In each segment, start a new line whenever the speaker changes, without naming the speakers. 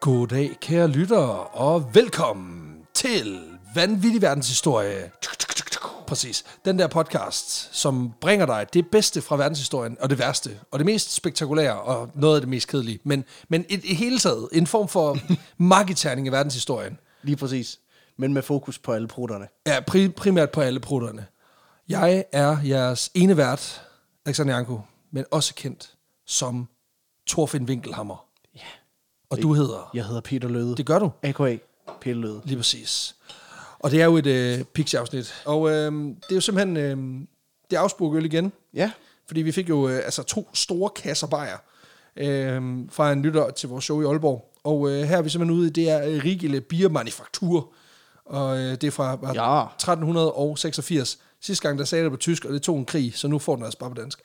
Goddag, kære lyttere, og velkommen til Vanvittig Verdenshistorie. Præcis. Den der podcast, som bringer dig det bedste fra verdenshistorien, og det værste, og det mest spektakulære, og noget af det mest kedelige. Men, men et, i hele taget, en form for magiterning i verdenshistorien.
Lige præcis. Men med fokus på alle prutterne.
Ja, pri- primært på alle prutterne. Jeg er jeres ene vært, Alexander Janko, men også kendt som Torfinn Winkelhammer. Ja. Og du hedder...
Jeg hedder Peter Løde.
Det gør du.
A.K.A. Peter Løde.
Lige præcis. Og det er jo et øh, Pixie-afsnit. Og øh, det er jo simpelthen... Øh, det er afsprogøl igen.
Ja.
Fordi vi fik jo øh, altså to store kasser bajer øh, fra en lytter til vores show i Aalborg. Og øh, her er vi simpelthen ude i det er Rigile Biermanufaktur. Og øh, det er fra var
Ja.
1386. Sidste gang, der sagde jeg det på tysk, og det tog en krig, så nu får den altså bare på dansk.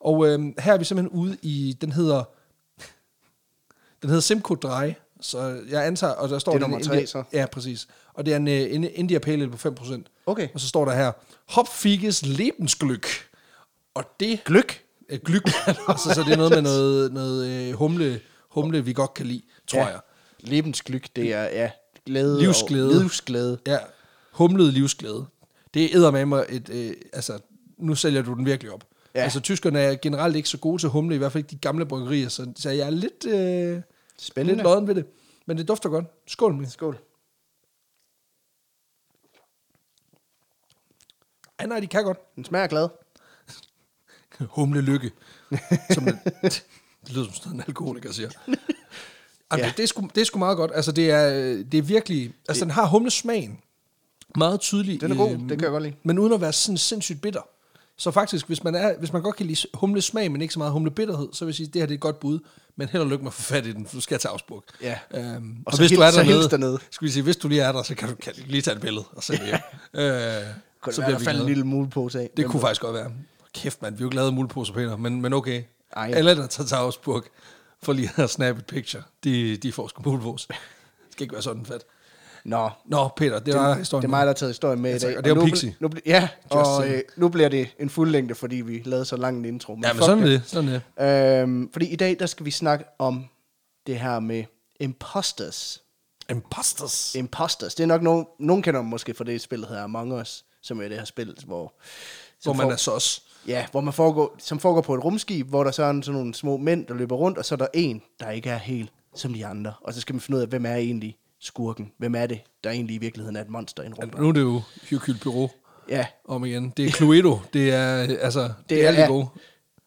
Og øh, her er vi simpelthen ude i, den hedder, den hedder Simco Dry, så jeg antager, og der står...
Det er
en
nummer tre,
India-
så.
Ja, præcis. Og det er en, øh, en India Pale Ale på 5%.
Okay.
Og så står der her, Hopfiges Lebensglück. Og det...
Gløk.
Øh, glyk. altså, så det er noget med noget, noget øh, humle, humle, vi godt kan lide, tror
Ja.
jeg.
Lebensgløk, det er ja, glæde.
Livsglæde.
Og, livsglæde.
Ja, humlet livsglæde. Det æder med mig et, øh, altså, nu sælger du den virkelig op. Ja.
Ja.
Altså, tyskerne er generelt ikke så gode til humle, i hvert fald ikke de gamle bryggerier, så, så jeg er lidt, øh, lidt
Spændende.
lodden ved det. Men det dufter godt. Skål, min.
Skål.
Ej, nej, de kan godt.
Den smager glad.
Humle lykke. Som det, det lyder som sådan en alkoholiker siger. Jamen,
Ja.
det, det, er sgu, det er sgu meget godt. Altså, det er, det er virkelig... Altså, den har humlesmagen. Meget tydelig.
Den er god.
øh,
Den kan jeg godt lide.
Men uden at være sådan sindssygt bitter. Så faktisk, hvis man, er, hvis man godt kan lide humlesmag, men ikke så meget humlebitterhed, så vil jeg sige, at det her det er et godt bud. Men held og lykke med at få fat i den, for du skal til Augsburg.
Ja.
Øhm, og,
så hil- så hils dernede.
Skal vi sige, hvis du lige er der, så kan du kan du lige tage et billede og sende det ja. øh,
Kunne så bliver vi
glade.
en lille mulepose af.
Det kunne faktisk godt være. Kæft, mand. Vi er jo ikke lavet muleposer, Peter, men, men okay. Ej.
Ej.
Alle, der tager til Augsburg for lige at snappe et picture, de, de får sgu mulepose. Det skal ikke være sådan fat.
Nå,
Nå, Peter, det, var historien.
det er mig, der har taget historien med
Ja,
i
tak.
dag.
Og det er jo
nu,
Pixie.
Nu, bl- ja, og
saying.
øh, nu bliver det en fuld længde, fordi vi lavede så lang en intro.
Ja, men
fuck
sådan er det. Sådan er det.
Øhm, fordi i dag, der skal vi snakke om det her med imposters.
Imposters.
Imposters. Det er nok nogen, nogen kender dem måske fra det spil, der hedder Among Us, som er det her spil, hvor,
Hvor
som
man
for-
er sås.
Ja, hvor man foregår, som foregår på et rumskib, hvor der så er en- sådan nogle små mænd, der løber rundt, og så er der en, der ikke er helt som de andre. Og så skal man finde ud af, hvem er egentlig skurken? Hvem er det, der egentlig i virkeligheden er et monster i en rum?
Nu er det jo Hykyl Bureau
Ja,
om igen. Det er Cluedo. Det er, altså, det, det er, alle gode.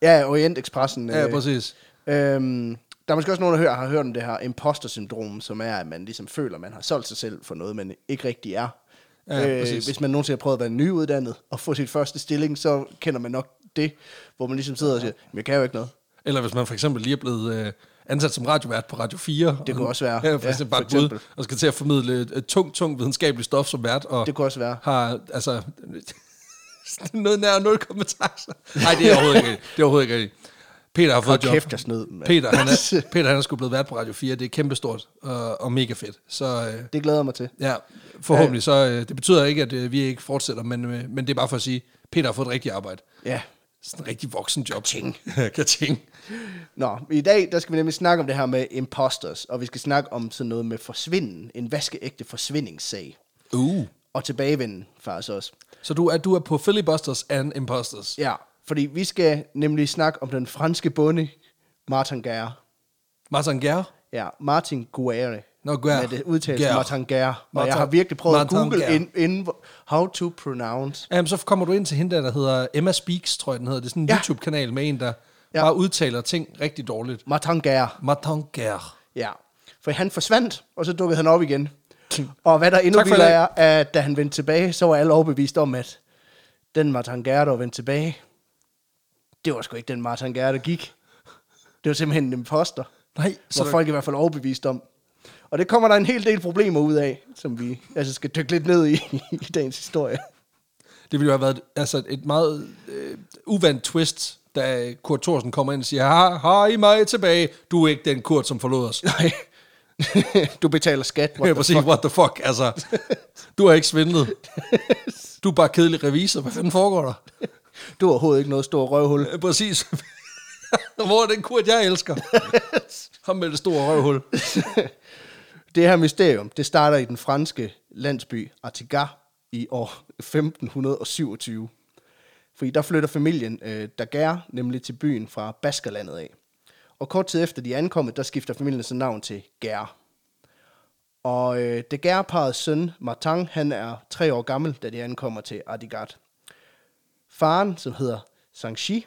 Ja, Orient Expressen.
Ja,
øh,
præcis.
Øhm, der er måske også nogen, der hører, har hørt om det her imposter-syndrom, som er, at man ligesom føler, man har solgt sig selv for noget, man ikke rigtig er. Øh,
Ja, præcis.
hvis man nogensinde har prøvet at være nyuddannet og få sit første stilling, så kender man nok det, hvor man ligesom sidder og siger, "Men jeg kan jo ikke noget.
Eller hvis man for eksempel lige er blevet øh, ansat som radiovært på Radio 4.
Det kunne
og-
også være.
Ja, for,
Ja,
ja, bare
for
et bud,
eksempel.
og skal til at formidle øh, tung, tung videnskabeligt stof som vært. Og
Det kunne også være.
Har, altså, noget nær nul kompetencer. Nej, det er overhovedet ikke rigtigt. Det er overhovedet ikke rigtigt. Peter har fået
Hold
job.
kæft, jeg snød, mand.
Peter, han er, Peter, han er sgu blevet vært på Radio 4. Det er kæmpestort øh, og, og mega fedt. Så øh,
Det glæder jeg mig til.
ja, forhåbentlig. Så, øh, det betyder ikke, at øh, vi ikke fortsætter, men, øh, men det er bare for at sige, Peter har fået et rigtigt arbejde.
Ja.
Sådan en rigtig voksen job. Kaching. Kaching.
Nå, i dag der skal vi nemlig snakke om det her med imposters, og vi skal snakke om sådan noget med forsvinden, en vaskeægte forsvindingssag,
Uh.
og tilbagevenden faktisk også.
Så du er, du er på filibusters and imposters.
Ja, fordi vi skal nemlig snakke om den franske bonde, Martin Gare.
Martin Gær.
Ja, Martin Guerre.
Nå, Guerre.
Med det udtales
Guerre.
Martin Guerre. Og
Martin-
jeg har virkelig prøvet
Martin
at google
Guerre.
ind, ind, how to pronounce.
Jamen, så kommer du ind til hende der, der hedder Emma Speaks, tror jeg den hedder. Det er sådan en ja.
Ja.
YouTube-kanal med en, der ja.
Ja.
bare udtaler ting rigtig dårligt.
Martin Guerre.
Martin Gær.
Ja. For han forsvandt, og så dukkede han op igen. Og hvad der endnu
Tak for i
vildere
dag.
er, at da han vendte tilbage, så var alle overbevist om, at den Martin Guerre, der var vendt tilbage, det var sgu ikke den Martin Guerre, der gik. Det var simpelthen en imposter.
Nej, så
så
der,
folk i hvert fald overbevist om. Og det kommer der en hel del problemer ud af, som vi altså skal dykke lidt ned i i dagens historie.
det ville jo have været altså, et meget øh, uvandt twist, da Kurt Thorsen kommer ind og siger, har, har I mig tilbage? Du er ikke den Kurt, som forlod os.
Nej. du betaler skat.
Ja,
what the
præcis,
fuck.
what the fuck, altså. Du har ikke svindlet. Du er bare kedelig revisor. Hvad fanden foregår der?
Du har overhovedet ikke noget stort røvhul.
Øh, Præcis. Hvor er den kurt, jeg elsker? Ham med det store røvhul.
det her mysterium, det starter i den franske landsby Artigas i år 1527. Fordi der flytter familien øh, Daguerre nemlig til byen fra Baskerlandet af. Og kort tid efter de er ankommet, der skifter familien så navn til Gær. Og øh, Daguerre-parets søn, Martin, han er tre år gammel, da de ankommer til Artigat. Faren, som hedder Sanxi,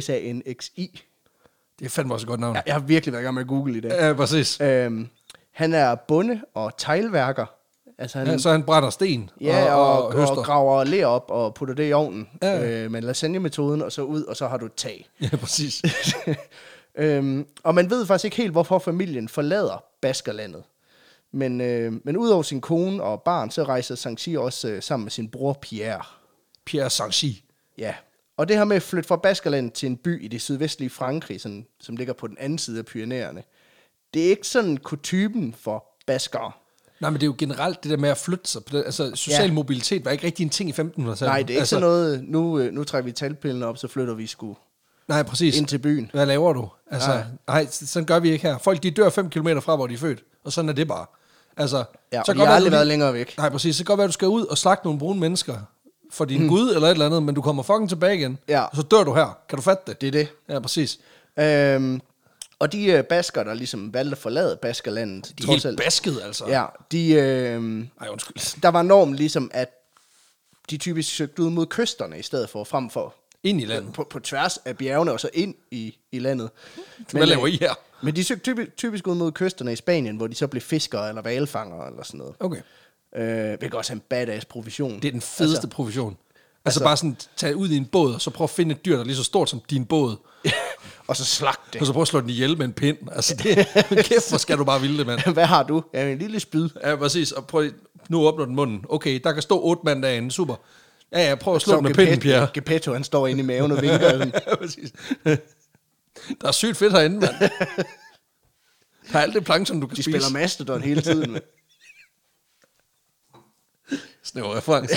S-A-N-X-I.
Det er fandme også et godt navn.
Jeg, jeg har virkelig været i gang med at google i dag.
Ja, præcis.
Øhm, han er bonde og teglværker. Altså han,
Ja, så han brænder sten
ja,
og,
og,
og,
og,
høster.
og graver ler op og putter det i ovnen
Ja.
ja. øh, med lasagne-metoden, og så ud, og så har du et tag.
ja, præcis.
øhm, og man ved faktisk ikke helt, hvorfor familien forlader Baskerlandet. Men, øh, men udover sin kone og barn, så rejser Sanxi også øh, sammen med sin bror Pierre.
Pierre Sanchi.
Ja, og det her med at flytte fra Baskerland til en by i det sydvestlige Frankrig, sådan, som ligger på den anden side af Pyrenæerne, det er ikke sådan kutypen for baskere.
Nej, men det er jo generelt det der med at flytte sig. På det. Altså, social
Ja.
mobilitet var ikke rigtig en ting i 1500-tallet.
Nej, det er ikke
altså,
altså, sådan noget, nu, øh, nu trækker vi talpillene op, så flytter vi sgu
Nej, præcis.
ind til byen.
Hvad laver du? Altså, nej.
Nej.
nej, s- sådan gør vi ikke her. Folk, de dør 5 km fra, hvor de er født. Og sådan er det bare. Altså,
Ja,
så
så jeg har
at
aldrig
du-
været længere væk.
Nej, præcis. Så kan godt være, at du skal ud og slagte nogle brune mennesker for din mm. gud eller et eller andet, men du kommer fucking tilbage igen.
Ja.
Og så dør du her. Kan du fatte det?
Det er det.
Ja, præcis.
Øhm, og de øh, basker, der ligesom valgte at forlade baskerlandet,
De er helt basket, altså.
ja, de, øh,
Ej, undskyld.
der var normen ligesom, at de typisk søgte ud mod kysterne i stedet for, frem for
Ind i landet.
på, på tværs af bjergene og så ind i, i landet. Men,
Hvad laver
øh,
I her?
Men de søgte typisk, typisk ud mod kysterne i Spanien, hvor de så blev fiskere eller valfangere eller sådan noget.
Okay.
Øh, hvilket også er en badass profession.
Oh. Det er den fedeste altså, profession. Altså, altså bare sådan, tage ud i en båd, og så prøve at finde et dyr, der er lige så stort som din båd.
Altså, og så slagte
Og så prøve at slå den ihjel med en pind. Altså, det, kæft, hvor skal du bare ville det, mand.
Hvad har du? Ja, en lille spyd.
Ja, præcis. Og prøv, lige- nu åbner den munden. Okay, der kan stå otte mand derinde. Super. Ja, ja, prøv at slå
Så
den med pinden, Pierre.
Geppetto- Geppetto, han står inde i maven og vinker. sådan,
ja, præcis. Der er sygt fedt herinde, mand. Der er alt det plankton, du kan
De
spise.
spiller Mastodon hele tiden. mand.
Snæv reference.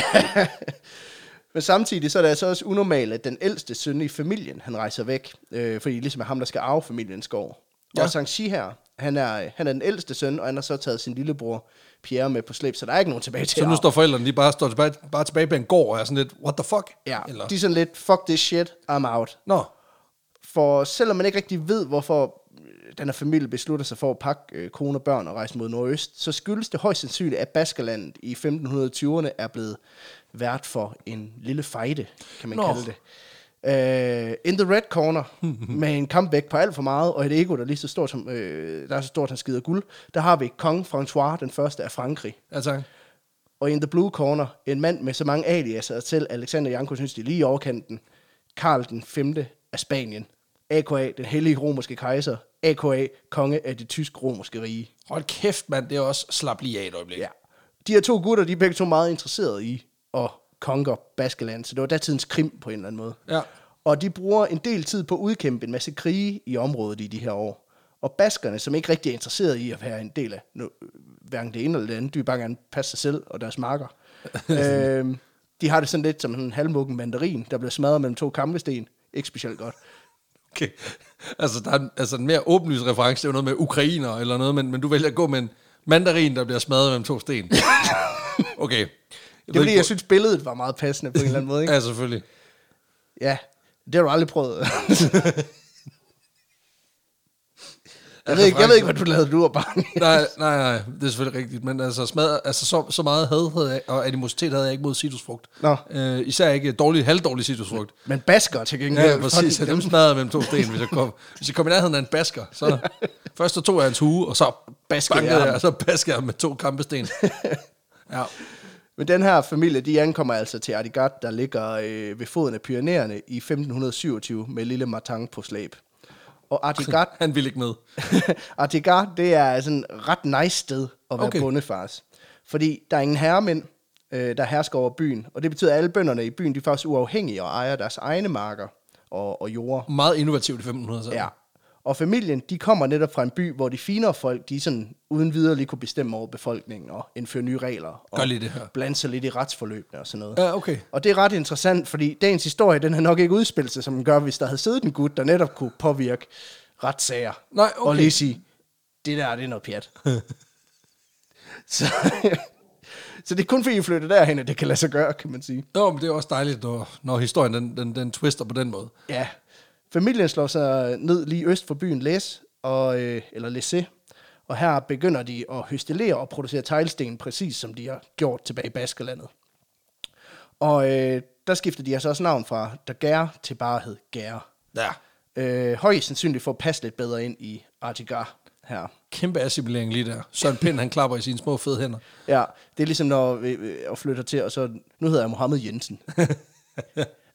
Men samtidig så er det altså også unormalt, at den ældste søn i familien, han rejser væk, øh, fordi det ligesom er ham, der skal arve familiens gård. Ja.
Ja.
Og Sanxi her, han er, øh, han er den ældste søn, og han har så taget sin lillebror Pierre med på slæb, så der er ikke nogen tilbage til
Så
at
nu
arve.
står forældrene, de bare står tilbage, bare tilbage på en gård og er sådan lidt, what the fuck?
Ja,
Eller,
de er sådan lidt, fuck this shit, I'm out.
Nå,
For selvom man ikke rigtig ved, hvorfor øh, den her familie beslutter sig for at pakke øh, kone og børn og rejse mod nordøst, så skyldes det højst sandsynligt, at Baskerlandet i 1520'erne er blevet vært for en lille fejde, kan man
Nå.
Nå. kalde det. Uh, in the red corner, med en comeback på alt for meget, og et ego, der, er lige så stort som, øh, der er så stort, han skider guld, der har vi kong François, den første af Frankrig.
ja tak.
Og in the blue corner, en mand med så mange aliaser, at selv Alexander Janko synes, de er lige i overkanten. Karl den 5. af Spanien. A.K.A. den hellige romerske kejser. A.K.A. konge af det tysk-romerske rige.
Hold kæft, mand, det er også slap lige af et øjeblik.
Ja. De her to gutter, de er begge to meget interesserede i at konker Baskeland, så det var datidens krim på en eller anden måde.
Ja.
Og de bruger en del tid på at udkæmpe en masse krige i området i de her år. Og baskerne, som ikke rigtig er interesserede i at være en del af nu, hverken det ene eller det andet, de vil bare gerne passe sig selv og deres marker. øhm, de har det sådan lidt som en halvmukken mandarin, der bliver smadret mellem to kampesten. Ikke specielt godt.
Okay. Altså, der er en, altså en mere åbenlyst reference, det er jo noget med ukrainer eller noget, men, men du vælger at gå med en mandarin, der bliver smadret mellem to sten. Okay. Jeg
Det er fordi, jeg synes, billedet var meget passende på en eller anden måde. Ikke?
Ja, selvfølgelig.
Ja, det har du aldrig prøvet. jeg, ved ikke, jeg ved ikke, hvad du lavede, du var barn.
Nej, nej, nej, det er selvfølgelig rigtigt, men altså, smadret, altså så, så meget had havde jeg, og animositet havde jeg ikke mod citrusfrugt.
Nå.
Øh, især ikke dårlig, halvdårlig citrusfrugt.
Men basker til gengæld.
Ja, ja præcis. Ja, dem smadrede jeg mellem to sten, hvis jeg kom, hvis jeg kom i nærheden af en basker. Så, først så tog jeg hans hue, og så
Baskede
bankede
jeg ham.
jeg, og så baskede jeg ham med to kampesten. Ja.
Men den her familie, de ankommer altså til Ardigat, der ligger øh, ved foden af Pyrenæerne i 1527 med lille Martin på slæb. Og Ardigat,
Han ville ikke med.
Artigar, det er sådan et ret nice sted at være
Okay.
okay. bondefars. Fordi der er ingen herremænd, øh, der hersker over byen. Og det betyder, at alle bønderne i byen, de er faktisk uafhængige og ejer deres egne marker og, og jorder.
Meget innovativt i 1500 så.
Ja. Og familien, de kommer netop fra en by, hvor de finere folk, de sådan uden videre lige kunne bestemme over befolkningen og indføre nye regler. Og
Gør lige det her.
Blande sig lidt i retsforløbene og sådan noget.
Ja, okay.
Og det er ret interessant, fordi dagens historie, den havde nok ikke udspillet sig, som den gør, hvis der havde siddet en gut, der netop kunne påvirke retssager.
Nej, okay.
Og lige sige, det der, det er noget pjat. Så, så det er kun fordi, I flytter derhen, at det kan lade sig gøre, kan man sige.
Jo, men det er også dejligt, når, når historien den, den, den twister på den måde.
Ja. Familien slår sig ned lige øst for byen Læs, og, øh, eller Læsé, og her begynder de at høstelere og producere teglsten, præcis som de har gjort tilbage i Baskerlandet. Og øh, der skifter de altså også navn fra Daguerre til bare hed Gære.
Ja.
Øh, højst sandsynligt for at passe lidt bedre ind i Artigar her.
Kæmpe assimilering lige der. Søren Pind, han klapper i sine små fede hænder.
Ja, det er ligesom, når vi, vi og flytter til, og så, nu hedder jeg Mohammed Jensen.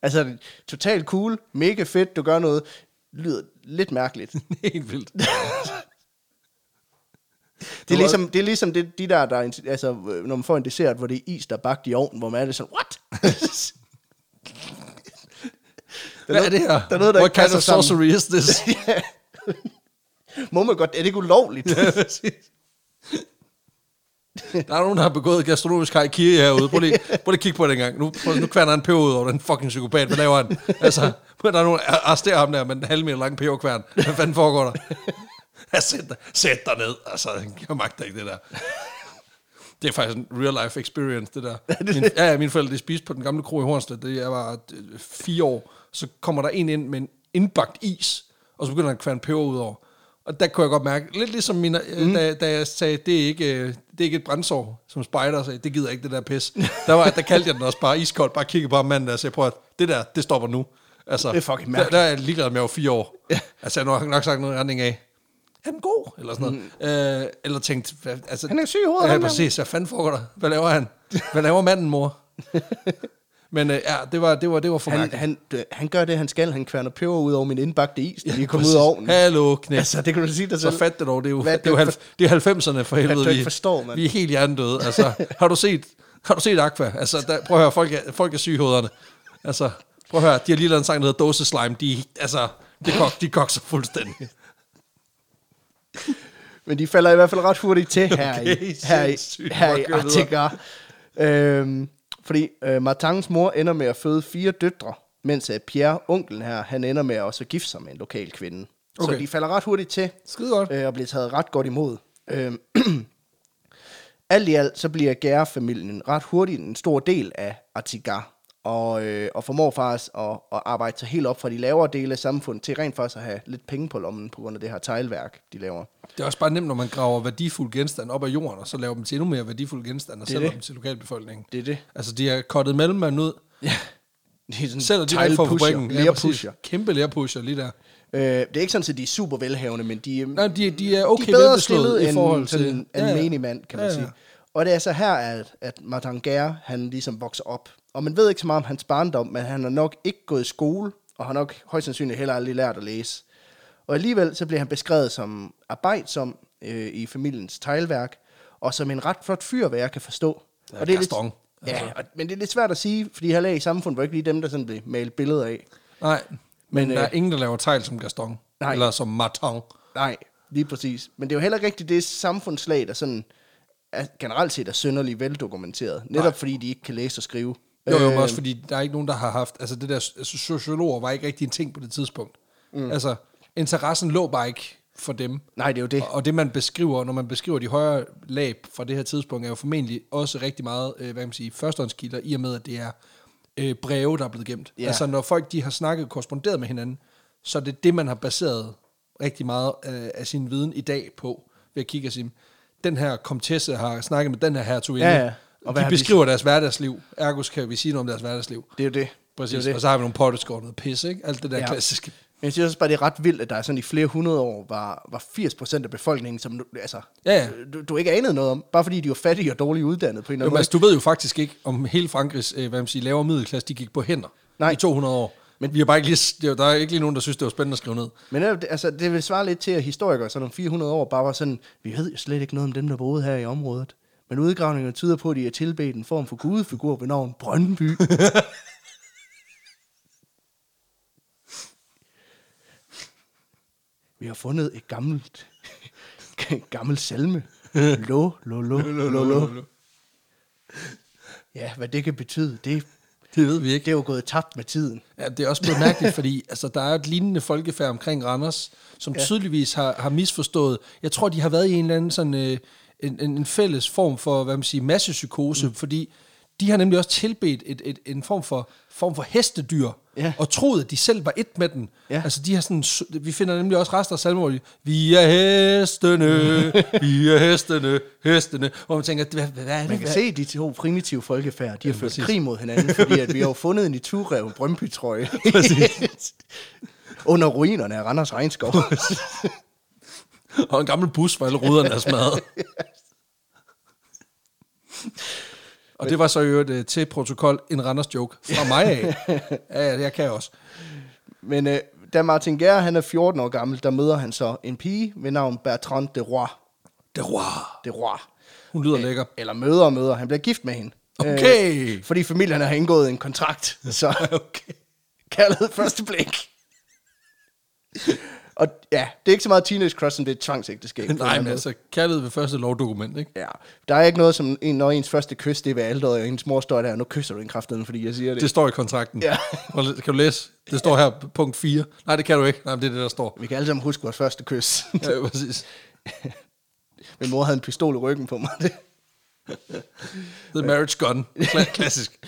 altså, totalt cool, mega fedt, du gør noget, lyder lidt mærkeligt.
Helt vildt.
Det er ligesom, det er ligesom det, de der, der, er en- altså, når man får en dessert, hvor det er is, der er bagt i ovnen, hvor man er lidt sådan, what?
Hvad er det her?
der er noget, der
What
ikke
kind
passer
of sorcery is this?
Ja. Må man godt, er det ikke ulovligt?
Der er nogen, der har begået gastronomisk harakiri herude. Prøv lige, prøv lige at kigge på det engang. Nu, prøv, nu kværner han peber ud over den fucking psykopat. Hvad laver han? Altså, prøv, der er nogen, der arresterer ham der med den halve meter lange peberkværn. Hvad fanden foregår der? Ja, sæt, dig, sæt dig ned. Altså, jeg magter ikke det der. Det er faktisk en real life experience, det der. Min, ja, ja, mine forældre, de spiste på den gamle kro i Hornslet, det jeg var øh, fire år. Så kommer der en ind med en indbagt is, og så begynder han at kværne peber ud over. Og der kunne jeg godt mærke, lidt ligesom min, mm. da, da, jeg sagde, det er, ikke, øh, det er ikke et brændsår, som spider sagde, det gider jeg ikke det der pis. Der, var, der kaldte jeg den også bare iskold, bare kiggede på ham manden der og sagde, prøv at, det der, det stopper nu. Altså,
Det er fucking
der,
mærkeligt.
der er jeg ligeglad med, at jeg var fire år. Altså, jeg har nok- nok sagt noget i retning af, er den god? Eller sådan noget. Mm. Øh, eller tænkt, hvad, altså,
Han er syg i hovedet,
Ja,
ham der.
præcis. Hvad fanden foregår der? Hvad laver han? Hvad laver manden, mor? Men øh, ja, det var, det var, det var for
han,
mærkeligt.
han, øh, han gør det, han skal. Han kværner peber ud over min indbagte is, der lige er kommet ud af ovnen.
Hallo, knæk.
Altså, det kan du sige dig
så
selv.
fat det dog, det er jo,
Hvad
det er jo
det
halv, det er 90'erne for helvede.
du ikke
vi-
forstår, mand.
Vi er helt hjernedøde. Altså, har du set, har du set Aqua? Altså, der, prøv at høre, folk er, folk er syge i hovederne. Altså, prøv at høre, de har lige lavet en sang, der hedder Dose Slime. De, altså, de, kok, de kokser fuldstændig.
Men de falder i hvert fald ret hurtigt til her
Okay,
i, her i,
sindssygt.
her
Bare
i
kør
Artigar. Øhm, fordi øh, Martins mor ender med at føde fire døtre, mens at Pierre, onkelen her, han ender med også at gifte sig med en lokal kvinde. Okay.
Okay.
Så de falder ret hurtigt til
Skide godt.
øh, og bliver taget ret godt imod. Øh, alt i alt, så bliver Gær-familien ret hurtigt en stor del af Artigar, og, øh, og formår faktisk at, at arbejde sig helt op fra de lavere dele af samfundet til rent faktisk at have lidt penge på lommen på grund af det her teglværk, de laver.
Det er også bare nemt, når man graver værdifulde genstande op af jorden, og så laver dem til endnu mere værdifulde genstande, og
Det er
sælger
det.
dem til lokalbefolkningen.
Det er det.
Altså, de har kottet mellemmanden ud,
Ja. Det er sådan
sælger direkte fra
teglpusher,
fabrikken. Ja, præcis.
lærpusher.
Kæmpe lærpusher lige der.
Øh, det er ikke sådan, at de er super velhavende, men de,
Nej, de, de er okay
de er bedre
velbeslået
stillet
i
end
forhold til...
sådan en almindelig mand, kan man
Ja, ja.
sige. Og det er så her, at, at Martin Gare, han ligesom vokser op. Og man ved ikke så meget om hans barndom, men han har nok ikke gået i skole, og har nok højst sandsynligt heller aldrig lært at læse. Og alligevel så bliver han beskrevet som arbejdsom øh, i familiens teglværk, og som en ret flot fyr, hvad jeg kan forstå.
Ja,
og det er
Gaston, altså.
Lidt, ja, og, men det er lidt svært at sige, fordi han er i samfundet, hvor ikke lige dem, der sådan blev malet billeder af.
Nej, men,
Men,
der er
øh,
ingen, der laver tegl som Gaston.
Nej.
Eller som Martin.
Nej, lige præcis. Men det er jo heller ikke rigtigt det samfundslag, der sådan er, generelt set er synderligt veldokumenteret. Netop Nej. fordi de ikke kan læse og skrive. Øh,
Jo, jo, men også fordi, der er ikke nogen, der har haft... Altså, det der altså, sociologer var ikke rigtig en ting på det tidspunkt. Mm. Altså, interessen lå bare ikke for dem.
Nej, det er jo det.
Og- Og det, man beskriver, når man beskriver de højere lag fra det her tidspunkt, er jo formentlig også rigtig meget, øh, hvad kan man sige, førstehåndskilder, i og med, at det er øh, breve, der er blevet gemt.
Ja.
Altså, når folk de har snakket og korresponderet med hinanden, så er det det, man har baseret rigtig meget øh, af sin viden i dag på, ved at kigge og sige, den her komtesse har snakket med den her hertuginde.
Ja, ja. Og
Og
hvad
de
har vi-
beskriver deres hverdagsliv. Ergo kan vi sige noget om deres hverdagsliv.
Det er jo det.
Præcis.
Det er jo
Og
det.
så har vi nogle potteskår og noget pisse, ikke? Alt det der ja.
Ja.
klassiske.
Men jeg synes også bare, det er ret vildt, at der er sådan i flere hundrede år var, var 80% af befolkningen, som du, altså,
Ja, ja.
Du, du, ikke anede noget om, bare fordi de var fattige og dårligt uddannet på en
Jo,
eller anden
men
måde.
altså, du ved jo faktisk ikke, om hele Frankrigs øh, hvad man siger, lavere middelklasse, de gik på hænder
Nej.
i 200 år. Men vi har bare ikke lige, der er ikke lige nogen, der synes, det var spændende at skrive ned.
Men netop det- altså, det vil svare lidt til, at historikere sådan om 400 år bare var sådan, vi ved jo slet ikke noget om dem, der boede her i området. Men udgravninger tyder på, at de har tilbedt en form for gudefigur ved navn Brøndby. vi har fundet et gammelt, en gammel salme. Lå, lå, lå, lå, lå. Ja, hvad det kan betyde, det,
Det ved vi
det
ikke.
er jo gået tabt med tiden.
Ja, det er også blevet mærkeligt, fordi altså, der er et lignende folkefærd omkring Randers, som ja. tydeligvis har, har misforstået. Jeg tror, de har været i en eller anden sådan, øh, en, en, en fælles form for, hvad man siger, massepsykose, mm. fordi de har nemlig også tilbedt et, et, en form for, form for hestedyr,
Ja.
og troede, at de selv var et med den.
Ja.
Altså, de har sådan, vi finder nemlig også rester af salmer, hvor de, vi er hestene, vi er hestene, hestene, hvor man tænker, hvad, hvad er det?
Man kan
hvad?
se de to primitive folkefærd, de har ført
præcis.
krig mod hinanden, fordi at vi har jo fundet en i Turev Brøndby-trøje. Under ruinerne af Randers Regnskov.
Og en gammel bus, hvor alle ruderne er smadret. Og det var så i øvrigt øh, til protokol en Randers joke fra mig af. Ja, ja, jeg kan også.
Men øh, da Martin Gær, han er 14 år gammel, der møder han så en pige ved navn Bertrand de Roy.
Det var.
De Roy.
Hun lyder lækker.
Eller møder og møder. Han bliver gift med hende.
Okay.
Øh, fordi familien har indgået en kontrakt. Så
Okay.
kaldet første blik. Og ja, det er ikke så meget teenage crush, som det er et tvangsægteskab. på en eller
Nej, men
anden måde.
altså, kaldet ved første lovdokument, ikke?
Ja, der er ikke noget som, en, når ens første kys, det er ved alderet, og ens mor står der, nu kysser du en kraftedeme, fordi jeg siger det.
Det står i kontrakten.
Ja.
Prøv lige- Kan du læse? Det står her, punkt 4. Nej, det kan du ikke. Nej, men det er det, der står.
Vi kan alle sammen huske vores første kys.
Ja, præcis.
Min mor havde en pistol i ryggen på mig.
The marriage gun. Kla- klassisk.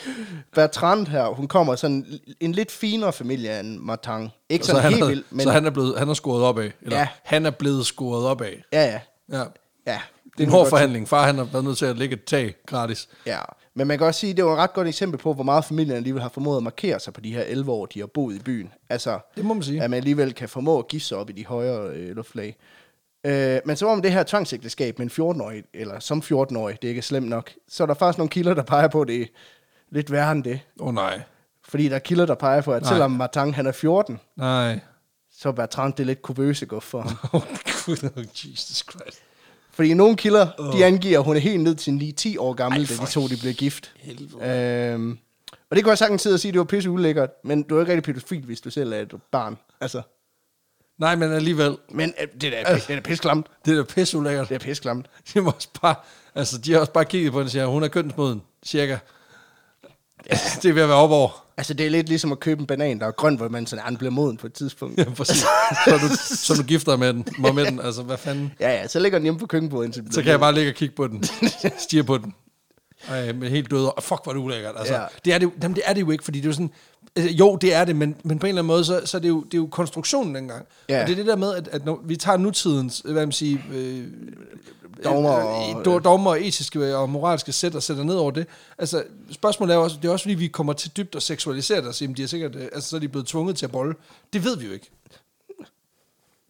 Bertrand her, hun kommer sådan en lidt finere familie end Martin. Ikke
Så
sådan
han,
helt
havde,
vildt, men...
så han er blevet han er scoret op af. Eller
Ja.
han er blevet scoret op af.
Ja, ja.
Ja.
ja
Det er en hård forhandling. Far han har været nødt til at lægge et tag gratis.
Ja, men man kan også sige, at det var et ret godt eksempel på, hvor meget familien alligevel har formået at markere sig på de her 11 år, de har boet i byen. Altså,
Det må man sige.
at man alligevel kan formå at give sig op i de højere øh, luftlag. Øh, men så om det her tvangsægteskab med en 14-årig, eller som 14-årig, det ikke er slemt nok, så er der faktisk nogle kilder, der peger på, at det er lidt værre end det.
Åh oh, nej.
Fordi der er kilder, der peger på, at
Nej.
Nej. selvom Martin han er 14,
Nej.
så er Bertrand det lidt kubøse guf for ham.
Oh, Gud, oh, Jesus Christ.
Fordi nogle kilder, de angiver, at hun er helt ned til 9-10 år gammel,
Ej,
Ej, da
for
de to de blev gift.
helvede.
Øhm, og det kunne jeg sagtens sidde og sige, at det var pisse ulækkert, men du er ikke rigtig pædofil, hvis du selv er et barn. Altså,
Nej, men alligevel.
men øh, det er da det er da pisklamt.
Det er da pisseulækkert.
Det er pisklamt.
De, må også bare, altså, de har også bare kigget på hende og siger, hun er kønsmoden, cirka. det er ved at være op over.
Altså, det er lidt ligesom at købe en banan, der er grøn, hvor man sådan, "Ah, den bliver moden på et tidspunkt.
Ja, præcis. så, du, så du gifter dig med den. Mig med den. Altså, hvad fanden?
Ja, ja, så ligger den hjemme på køkkenbordet, indtil den
Så
bliver
kan jeg bare
moden.
ligge og kigge på den. Stige på den. Ej, men helt døde. Og fuck, hvor er det ulækkert. Altså, ja.
Ja.
det, er det, jo- jamen, det er det jo ikke, fordi det er jo sådan... Altså, jo, det er det, men, men på en eller anden måde, så, så er det, jo, det er jo konstruktionen dengang.
Ja.
Og det er det der med, at, at når vi tager nutidens, øh, hvad man siger, øh,
Dogmer
og,
og-
dogmer og etiske og moralske sæt og sætter ned over det. Altså, spørgsmålet er også, det er også fordi, vi kommer til dybt og seksualiserer det og siger, "Jamen, de er sikkert, øh, altså, så er de blevet tvunget til at bolle. Det ved vi jo ikke.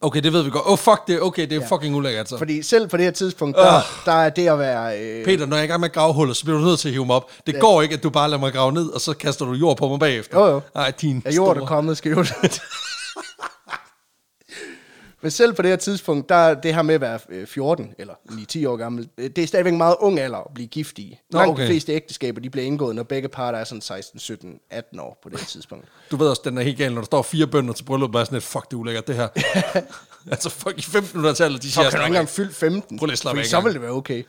Okay, det ved vi godt. Åh, oh, fuck det. Okay, det er ja. fucking ulækkert. Så.
Fordi selv på det her tidspunkt, der,
Ah.
der er det at være... Øh,
Peter, når jeg er i gang med at grave hullet, så bliver du nødt til at hive mig op. Det ja. går ikke, at du bare lader mig grave ned, og så kaster du jord på mig bagefter.
Jo, jo.
Nej, din
er jord, der
store-
kommet skævt. Men selv på det her tidspunkt, der er det her med at være øh, 14 eller 9-10 år gammel, øh, det er stadigvæk en meget ung alder at blive gift i.
Nå,
Langt
okay.
de fleste ægteskaber, de bliver indgået, når begge parter er sådan 16, 17, 18 år på det her tidspunkt.
Du ved også, den er helt gal, når der står fire bønder til bryllup, og er sådan lidt, fuck, det er ulækkert, det her. altså, fuck, i 1500-tallet, de
Så
siger...
kan du ikke engang fylde 15,
Prøv lige at slappe af
så
engang.
vil det være okay.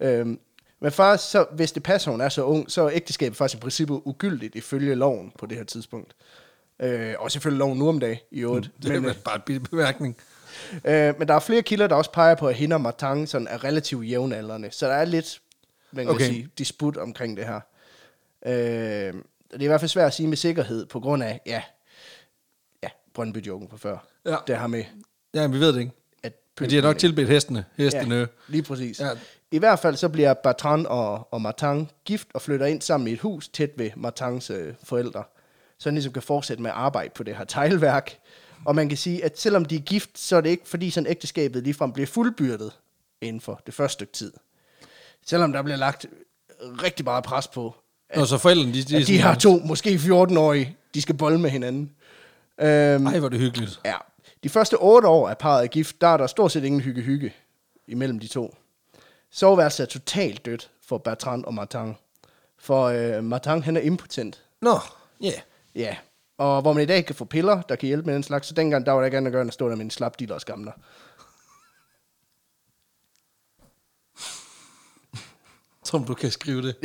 Øhm, men faktisk, så, hvis det passer, hun er så ung, så er ægteskabet faktisk i princippet ugyldigt ifølge loven på det her tidspunkt. Øh, og selvfølgelig loven nu om dagen i øvrigt.
Det er
Men, øh,
men, bare en bitte bemærkning.
Øh, men der er flere kilder, der også peger på, at hende og Martin sådan er relativt jævnaldrende. Så der er lidt, man kan
Okay.
okay. sige, disput omkring det her. Øh, og det er i hvert fald svært at sige med sikkerhed, på grund af, ja, ja Brøndby-joken på før.
Ja.
Det her med,
Ja, men vi ved det ikke.
at...
Men de har nok tilbedt hestene. Hestene. Ja.
øh, Ja, lige præcis.
Ja.
Ja. I hvert fald så bliver Bertrand og, og Martin gift og flytter ind sammen i et hus tæt ved Martins øh, forældre. Så han ligesom kan fortsætte med at arbejde på det her teglværk. Og man kan sige, at selvom de er gift, så er det ikke fordi sådan ægteskabet ligefrem bliver fuldbyrdet inden for det første stykke tid. Selvom der bliver lagt rigtig meget pres på, at,
Nå, så forældrene, de, de,
at de
sådan-
har to, måske 14-årige, de skal bolle med hinanden. Øhm,
Ej, hvor er det hyggeligt.
Ja. De første otte år af parret er gift, der er der stort set ingen hygge-hygge imellem de to. Soveværelset er totalt dødt for Bertrand og Martin. For øh, Martin, han er impotent.
Nå, ja. Yeah.
Ja. Og hvor man i dag kan få piller, der kan hjælpe med den slags, så dengang der var der ikke andet at gøre, end at stå der med en slapdiller og skamler.
Som du kan skrive det.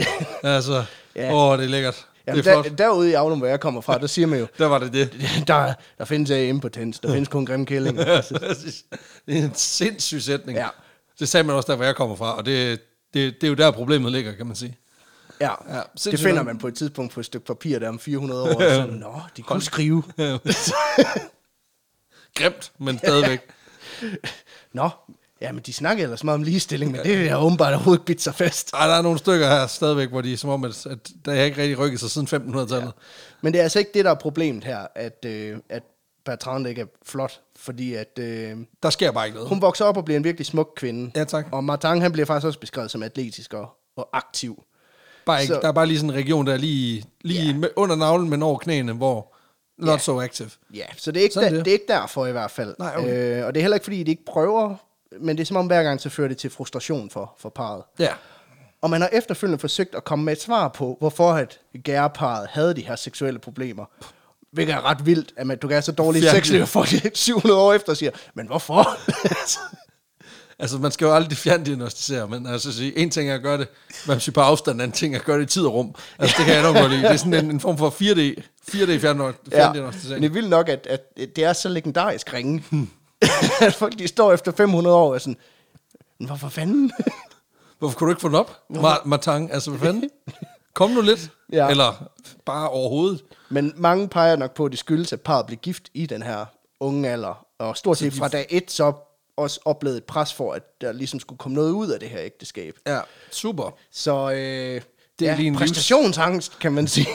altså,
Ja.
åh, det er lækkert.
Jamen,
det er
der,
flot.
derude i Avlum, hvor jeg kommer fra, der siger man jo,
Der var det det.
der, der findes ikke impotens, der findes kun grimme kællinger.
Præcis. det er en sindssyg sætning.
Ja.
Det sagde man også der, hvor jeg kommer fra, og det, det, det er jo der, problemet ligger, kan man sige.
Ja,
Ja,
ja
sindssygt
det finder
nok.
man på et tidspunkt på et stykke papir, der er om 400 år. Og sådan, Nå, de kunne skrive.
Grimt, men stadigvæk.
Nå, ja, men de snakkede ellers meget om ligestilling, men det er åbenbart overhovedet ikke bidt sig fast.
Ej, der er nogle stykker her stadigvæk, hvor de er som om, at, at der har ikke rigtig rykket sig siden 1500-tallet.
Men det er altså ikke det, der er problemet her, at, øh, at Bertrand ikke er flot, fordi at øh,
Der sker bare ikke noget.
hun vokser op og bliver en virkelig smuk kvinde.
Ja, tak.
Og Martin, han bliver faktisk også beskrevet som atletisk og, og aktiv.
Bare ikke,
Så-
der er bare lige sådan en region, der er lige, lige yeah. under navlen, men over knæene, hvor not yeah. so active.
Ja, så det er, ikke
Sådan
der,
det.
det. det er ikke derfor i hvert fald.
Nej, okay.
øh, og det er heller ikke, fordi de ikke prøver, men det er som om hver gang, så fører det til frustration for, for parret.
Ja.
Og man har efterfølgende forsøgt at komme med et svar på, hvorfor at gærparet havde de her seksuelle problemer. Hvilket er ret vildt, at man, du kan have så dårlige
Virkelig.
sexliv, for det 700 år efter siger, men hvorfor?
Altså, man skal jo aldrig fjerndiagnostisere, men altså, sige, en ting er at gøre det, man siger på afstand, en anden ting er at gøre det i tid og rum. Altså, det kan jeg nok godt lide. Det er sådan en, en form for 4D, 4D
ja. Men
fjerndiagnostisering.
det er vildt nok, at, at det er så legendarisk ringe, at folk de står efter 500 år og er sådan, men hvorfor fanden?
Hvorfor kunne du ikke få den op, Ma- Martang? Altså, hvad fanden? Kom nu lidt.
Ja.
Eller bare overhovedet.
men mange peger nok på, at det skyldes, at parret blev gift i den her unge alder. Og stort set fra dag et, så også oplevede et pres for, at der ligesom skulle komme noget ud af det her ægteskab.
Ja, super.
Så øh,
Det
det
er
er ja,
lige en livs-
præstationsangst, kan man sige.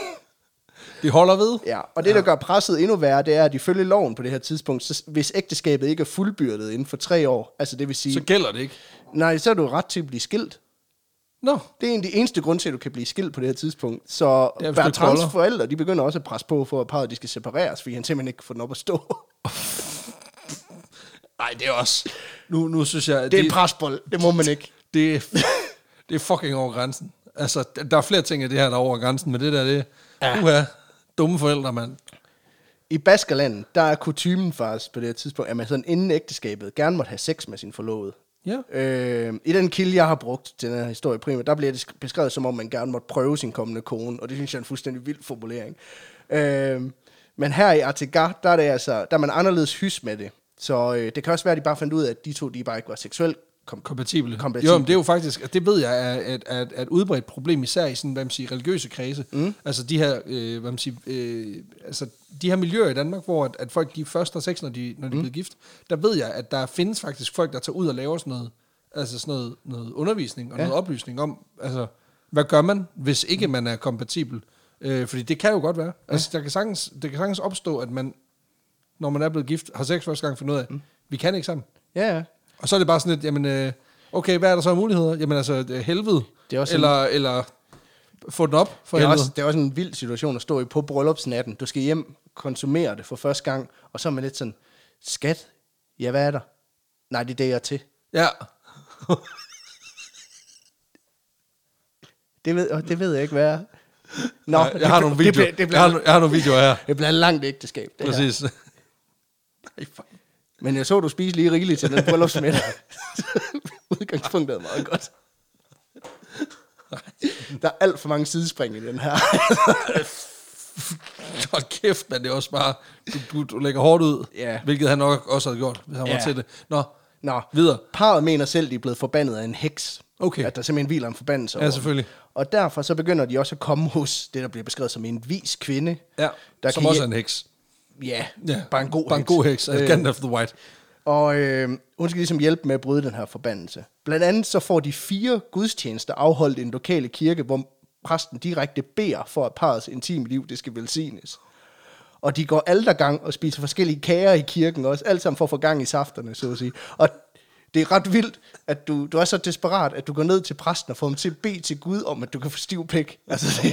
Det holder ved.
ja, og det, der gør presset endnu værre, det er, at ifølge loven på det her tidspunkt, så, hvis ægteskabet ikke er fuldbyrdet inden for tre år, altså det vil sige,
Så
så...
gælder det ikke.
nej, så er du ret til at blive skilt.
Nå,
Det er en af de eneste grunde til, at du kan blive skilt på det her tidspunkt. Så
Det er, hvis du ikke holder.
Bertrands forældre, de begynder også at presse på for, at parret de skal separeres, fordi han simpelthen ikke kan få den op at stå.
nej, det er også... Nu, nu synes jeg... at
Det er en presbold, det må man ikke.
det, er- det er fucking over grænsen. Altså, d- der er flere ting af det her, der er over grænsen, men det der, det ja. uha, dumme forældre, mand.
I Baskerland, der er kutumen faktisk på det her tidspunkt, at man sådan inden ægteskabet gerne måtte have sex med sin forlovede.
Ja.
Øh, I den kilde, jeg har brugt til den her historie primært, der bliver det sk- beskrevet som om, man gerne måtte prøve sin kommende kone, og det synes jeg er en fuldstændig vild formulering. Øh, men her i Artigar, der er, det altså, der er man anderledes hys med det. Så øh, det kan også være, at de bare fandt ud af, at de to de bare ikke var seksuelt kom-
Kompatible.
Kompatible.
Jo, men det er jo faktisk, det ved jeg, er at, at, at udbredt problem, især i sådan, hvad man siger, religiøse kredse. Mm. Altså de her, øh, hvad man siger, øh, altså de her miljøer i Danmark, hvor at, at folk de først har sex, når de, når de mm. bliver gift, der ved jeg, at der findes faktisk folk, der tager ud og laver sådan noget, altså sådan noget, noget undervisning og ja. noget oplysning om, altså, hvad gør man, hvis ikke man er kompatibel? Øh, fordi det kan jo godt være. Altså, der kan sagtens, det kan sagtens opstå, at man, når man er blevet gift, har sex første gang fundet ud af, mm. vi kan ikke sammen.
Ja, ja.
Og så er det bare sådan lidt, jamen, øh, okay, hvad er der så af muligheder? Jamen altså, øh, helvede.
Det er også
eller, eller få den op for
Det er,
helvede.
også, det er også en vild situation at stå i på bryllupsnatten. Du skal hjem, konsumere det for første gang, og så er man lidt sådan, skat, ja, hvad er der? Nej, det er det, jeg er til.
Ja.
Det ved, og det ved jeg ikke, hvad er. Nå,
Nå, jeg, har nogle videoer.
Det bliver, det
jeg, har,
bliver,
no- jeg har nogle videoer her.
det bliver langt ægteskab, det her.
Præcis. Ej, for-
Men jeg så, du spiste lige rigeligt til den bryllupsmiddag. Udgangspunktet er meget godt. Der er alt for mange sidespring i den her.
Hold kæft, men det er også bare, du, du, du lægger hårdt ud.
Ja.
Hvilket han nok også havde gjort, hvis han var
Ja.
til det. Nå,
Nå,
videre.
Parret mener selv, de er blevet forbandet af en heks.
Okay.
At der simpelthen hviler en forbandelse
Ja,
over dem.
selvfølgelig.
Og derfor så begynder de også at komme hos det, der bliver beskrevet som en vis kvinde.
Ja,
der
der som
kan
også er
hjæl-
en heks.
Ja,
Ja.
bare en god
bare
heks.
En god heks. Øh.
Øh,
Gandalf the White.
Og øh, hun skal ligesom hjælpe med at bryde den her forbandelse. Blandt andet så får de fire gudstjenester afholdt i en lokale kirke, hvor præsten direkte beder for, at parrets intime liv, det skal velsignes. Og de går aldergang og spiser forskellige kager i kirken også, alt sammen for at få gang i safterne, så at sige. Og det er ret vildt, at du, du er så desperat, at du går ned til præsten og får ham til at bede til Gud om, at du kan få stiv pik. Altså, det,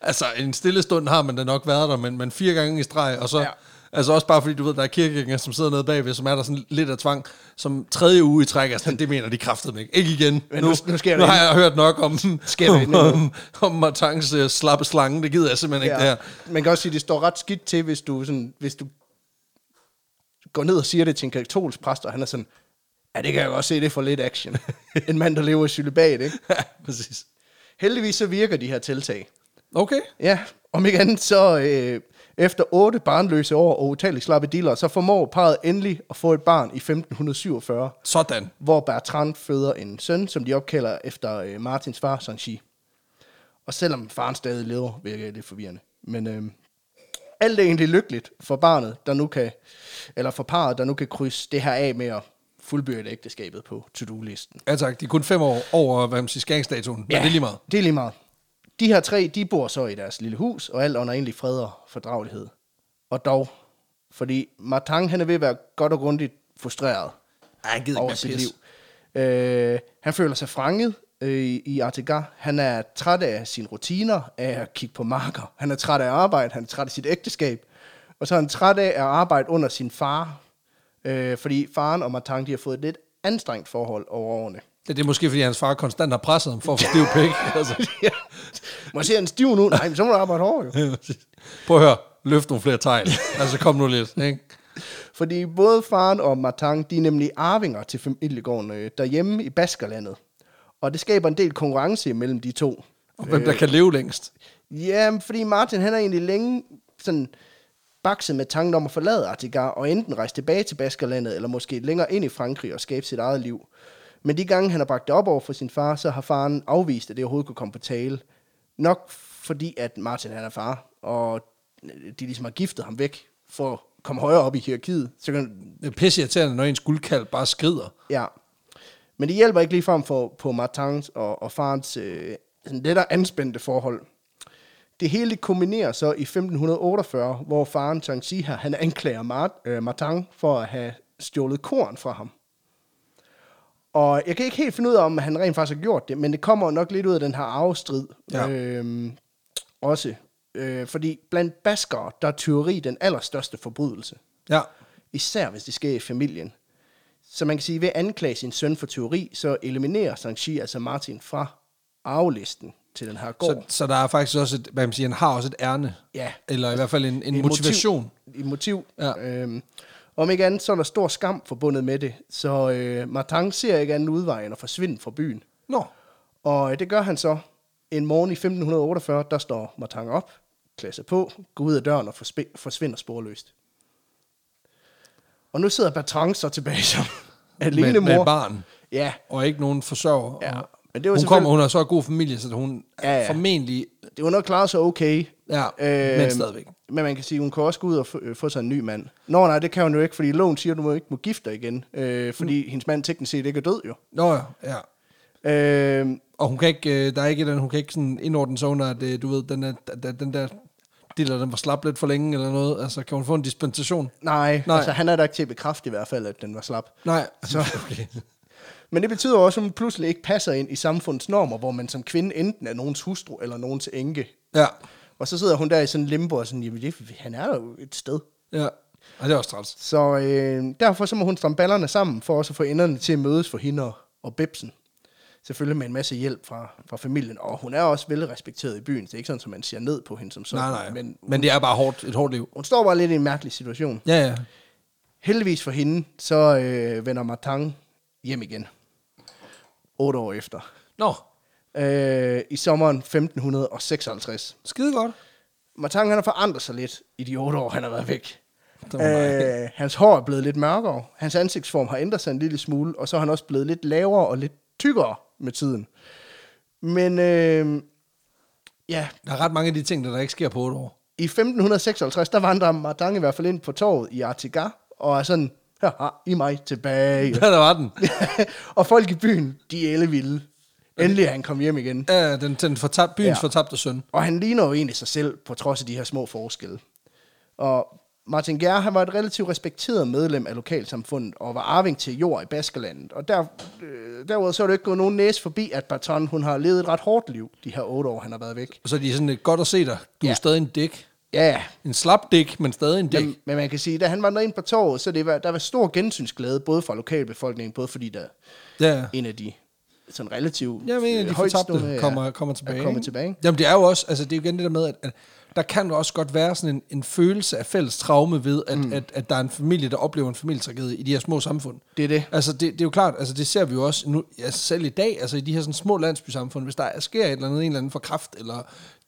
Altså, en stille stund har man da nok været der, men, men fire gange i streg, og så... Ja.
Ja.
Altså også bare fordi, du ved, der er kirkegængere, som sidder nede bagved, som er der sådan lidt af tvang, som tredje uge i træk, altså, det mener de kraftedeme ikke. Ikke igen.
Men nu- nu sker der
nu har
ikke-
jeg hørt nok om,
Sker der ikke
om,
noget?
om, om Martans uh, slappe slange, det gider jeg simpelthen ikke, ja. det her.
Man kan også sige, at det står ret skidt til, hvis du, sådan, hvis du går ned og siger det til en katolsk præst, og han er sådan, ja, det kan jeg godt se, det er for lidt action. en mand, der lever i celibat, ikke?
Ja, præcis.
Heldigvis så virker de her tiltag.
Okay.
Ja, Om ikke andet, så øh, efter otte barnløse år og utallige slappe dealer, så formår parret endelig at få et barn i 1547,
Sådan.
hvor Bertrand føder en søn, som de opkalder efter øh, Martins far, Sanchi. Og selvom faren stadig lever, virker det lidt forvirrende. Men øh, alt er egentlig lykkeligt for barnet, der nu kan, eller for parret, der nu kan krydse det her af med at fuldbyrde ægteskabet på to-do-listen.
Ja tak, de er kun fem år over, hvad man siger, skæringsdatoen. Men det er lige meget.
Det er lige meget. De her tre, de bor så i deres lille hus, og alt under egentlig fred og fordragelighed. Og dog, fordi Martin, han er ved at være godt og grundigt frustreret
Ej, jeg gider
over sit liv. Øh, han føler sig franget øh, i Artega. Han er træt af sine rutiner, af at kigge på marker. Han er træt af arbejde, han er træt af sit ægteskab. Og så er han træt af at arbejde under sin far. Øh, fordi faren og Martin, de har fået et lidt anstrengt forhold over årene.
Det, det er måske, fordi hans far konstant har presset ham for at få stiv pæk. altså.
Må jeg se han stiv nu? Nej, men så må du arbejde hårdt jo.
Prøv at høre, løft nogle flere tegn. Altså, kom nu lidt, ikke?
Fordi både faren og Martin, de er nemlig arvinger til familiegården øh, derhjemme i Baskerlandet. Og det skaber en del konkurrence mellem de to.
Og hvem
Øh.
der kan leve længst.
Ja, men fordi Martin, han har egentlig længe sådan bakset med tanken om at forlade Artigar og enten rejse tilbage til Baskerlandet, eller måske længere ind i Frankrig og skabe sit eget liv. Men de gange, han har bragt det op over for sin far, så har faren afvist, at det overhovedet kunne komme på tale. Nok fordi, at Martin han er far, og de ligesom har giftet ham væk for at komme højere op i hierarkiet. Så kan,
Det er pisse irriterende, når ens guldkald bare skrider.
Ja. Men det hjælper ikke ligefrem for, på Martins og, og farens øh, sådan lettere anspændte forhold. Det hele det kombinerer så i 1548, hvor faren Changxi her, han anklager Mart, øh, Martin for at have stjålet korn fra ham. Og jeg kan ikke helt finde ud af, om han rent faktisk har gjort det, men det kommer nok lidt ud af den her arvestrid.
Ja.
Øhm, også. Øh, fordi blandt baskere, der er tyveri den allerstørste forbrydelse.
Ja.
Især hvis det sker i familien. Så man kan sige, at ved at anklage sin søn for teori, så eliminerer Sanchi altså Martin fra arvelisten til den her gård.
Så, så der er faktisk også et, hvad man siger, han har også et ærne.
Ja.
Eller i hvert fald en, en
Et
motivation.
Motiv, et motiv.
Ja.
Øhm, om ikke andet, så er der stor skam forbundet med det, så øh, Martin ser ikke anden udvej end at forsvinde fra byen.
Nå.
Og øh, det gør han så. En morgen i 1548, der står Martin op, klæder sig på, går ud af døren og forsp- forsvinder sporløst. Og nu sidder Bertrand så tilbage som alene
med,
mor.
med et barn.
Ja,
Og ikke nogen forsørger.
Ja,
Og
men det var
hun
selvfølgelig-
kommer, hun har så en god familie, så hun
Ja,
ja,
ja.
ja. formentlig...
det var nok klaret sig okay. Øhm,
Ja, øh, men stadigvæk.
Men man kan sige, hun kan også gå ud og få, øh, få sig en ny mand. Nå nej, det kan hun jo ikke, fordi loven siger, at hun ikke må gifte dig igen. Øh, fordi mm. hendes mand teknisk set ikke er død jo.
Nå ja, ja.
Øh,
Og hun kan ikke, øh, der er ikke et eller andet, hun kan ikke sådan indordne sig under, at øh, du ved, den der, den- den der dealer, den var slap lidt for længe eller noget. Altså, kan hun få en dispensation?
nej, nej,
Nej.
altså han er da ikke til at bekræfte i hvert fald, at den var slap.
Nej.
Så-
okay.
Men det betyder også, at hun pludselig ikke passer ind i samfundets normer, hvor man som kvinde enten er nogens hustru eller nogens enke.
Ja,
Og så sidder hun der i sådan en limbo og sådan, jamen det, han er jo et sted.
ja. Og det er også træls.
Så øh, derfor så må hun stramme ballerne sammen for også at få enderne til at mødes for hende og, og Bebsen. Selvfølgelig med en masse hjælp fra, fra familien. Og hun er også velrespekteret i byen. Det er ikke sådan, at man ser ned på hende som sådan.
Nej, nej. Men,
men
men det er bare hårdt, et hårdt liv.
hun står bare lidt i en mærkelig situation.
Ja, ja.
Heldigvis for hende, så øh, vender Martin hjem igen. Otte år efter.
Nå,
Øh, I sommeren 1556.
skide godt.
Martin han har forandret sig lidt i de otte år, han har været væk.
Det var mig.
Øh, hans hår er blevet lidt mørkere, hans ansigtsform har ændret sig en lille smule, og så er han også blevet lidt lavere og lidt tykkere med tiden. Men øh, ja,
Der er ret mange af de ting, der, der ikke sker på otte år.
i 1556, der vandrer Martin i hvert fald ind på torvet i Artigas, og er sådan, haha, i mig tilbage.
Ja, der var den.
og folk i byen, de er ellevilde. Endelig er han kommet hjem igen.
Ja, den, den fortab, byens
Ja.
ja. fortabte søn.
Og han ligner jo egentlig sig selv, på trods af de her små forskelle. Og Martin Gær, han var et relativt respekteret medlem af lokalsamfundet, og var arving til jord i Baskerlandet. Og der, øh, derudover så er det ikke gået nogen næse forbi, at Barton, hun har levet et ret hårdt liv, de her otte år, han har været væk.
Og så er de sådan lidt godt at se dig. Du ja.
Ja.
er stadig en dæk.
Ja, ja.
En slap dæk, men stadig en dæk.
Men, men man kan sige, da han vandrede ind på torvet, så det var, der var stor gensynsglæde, både fra lokalbefolkningen, både fordi der
ja.
en af de sådan relativt
Jeg mener,
øh,
de
højtstående
fortabte
er-
kommer, kommer tilbage.
Er kommer
ikke?
tilbage. ikke?
Jamen, det er jo også, altså det er jo igen det der med, at, at der kan jo også godt være sådan en, en følelse af fælles traume ved, at, mm. at, at der er en familie, der oplever en familietragedie i de her små samfund.
Det er det.
Altså, det, det er jo klart, altså det ser vi jo også nu, ja, selv i dag, altså i de her sådan små landsbysamfund, hvis der er- sker et eller andet, en eller anden for kraft, eller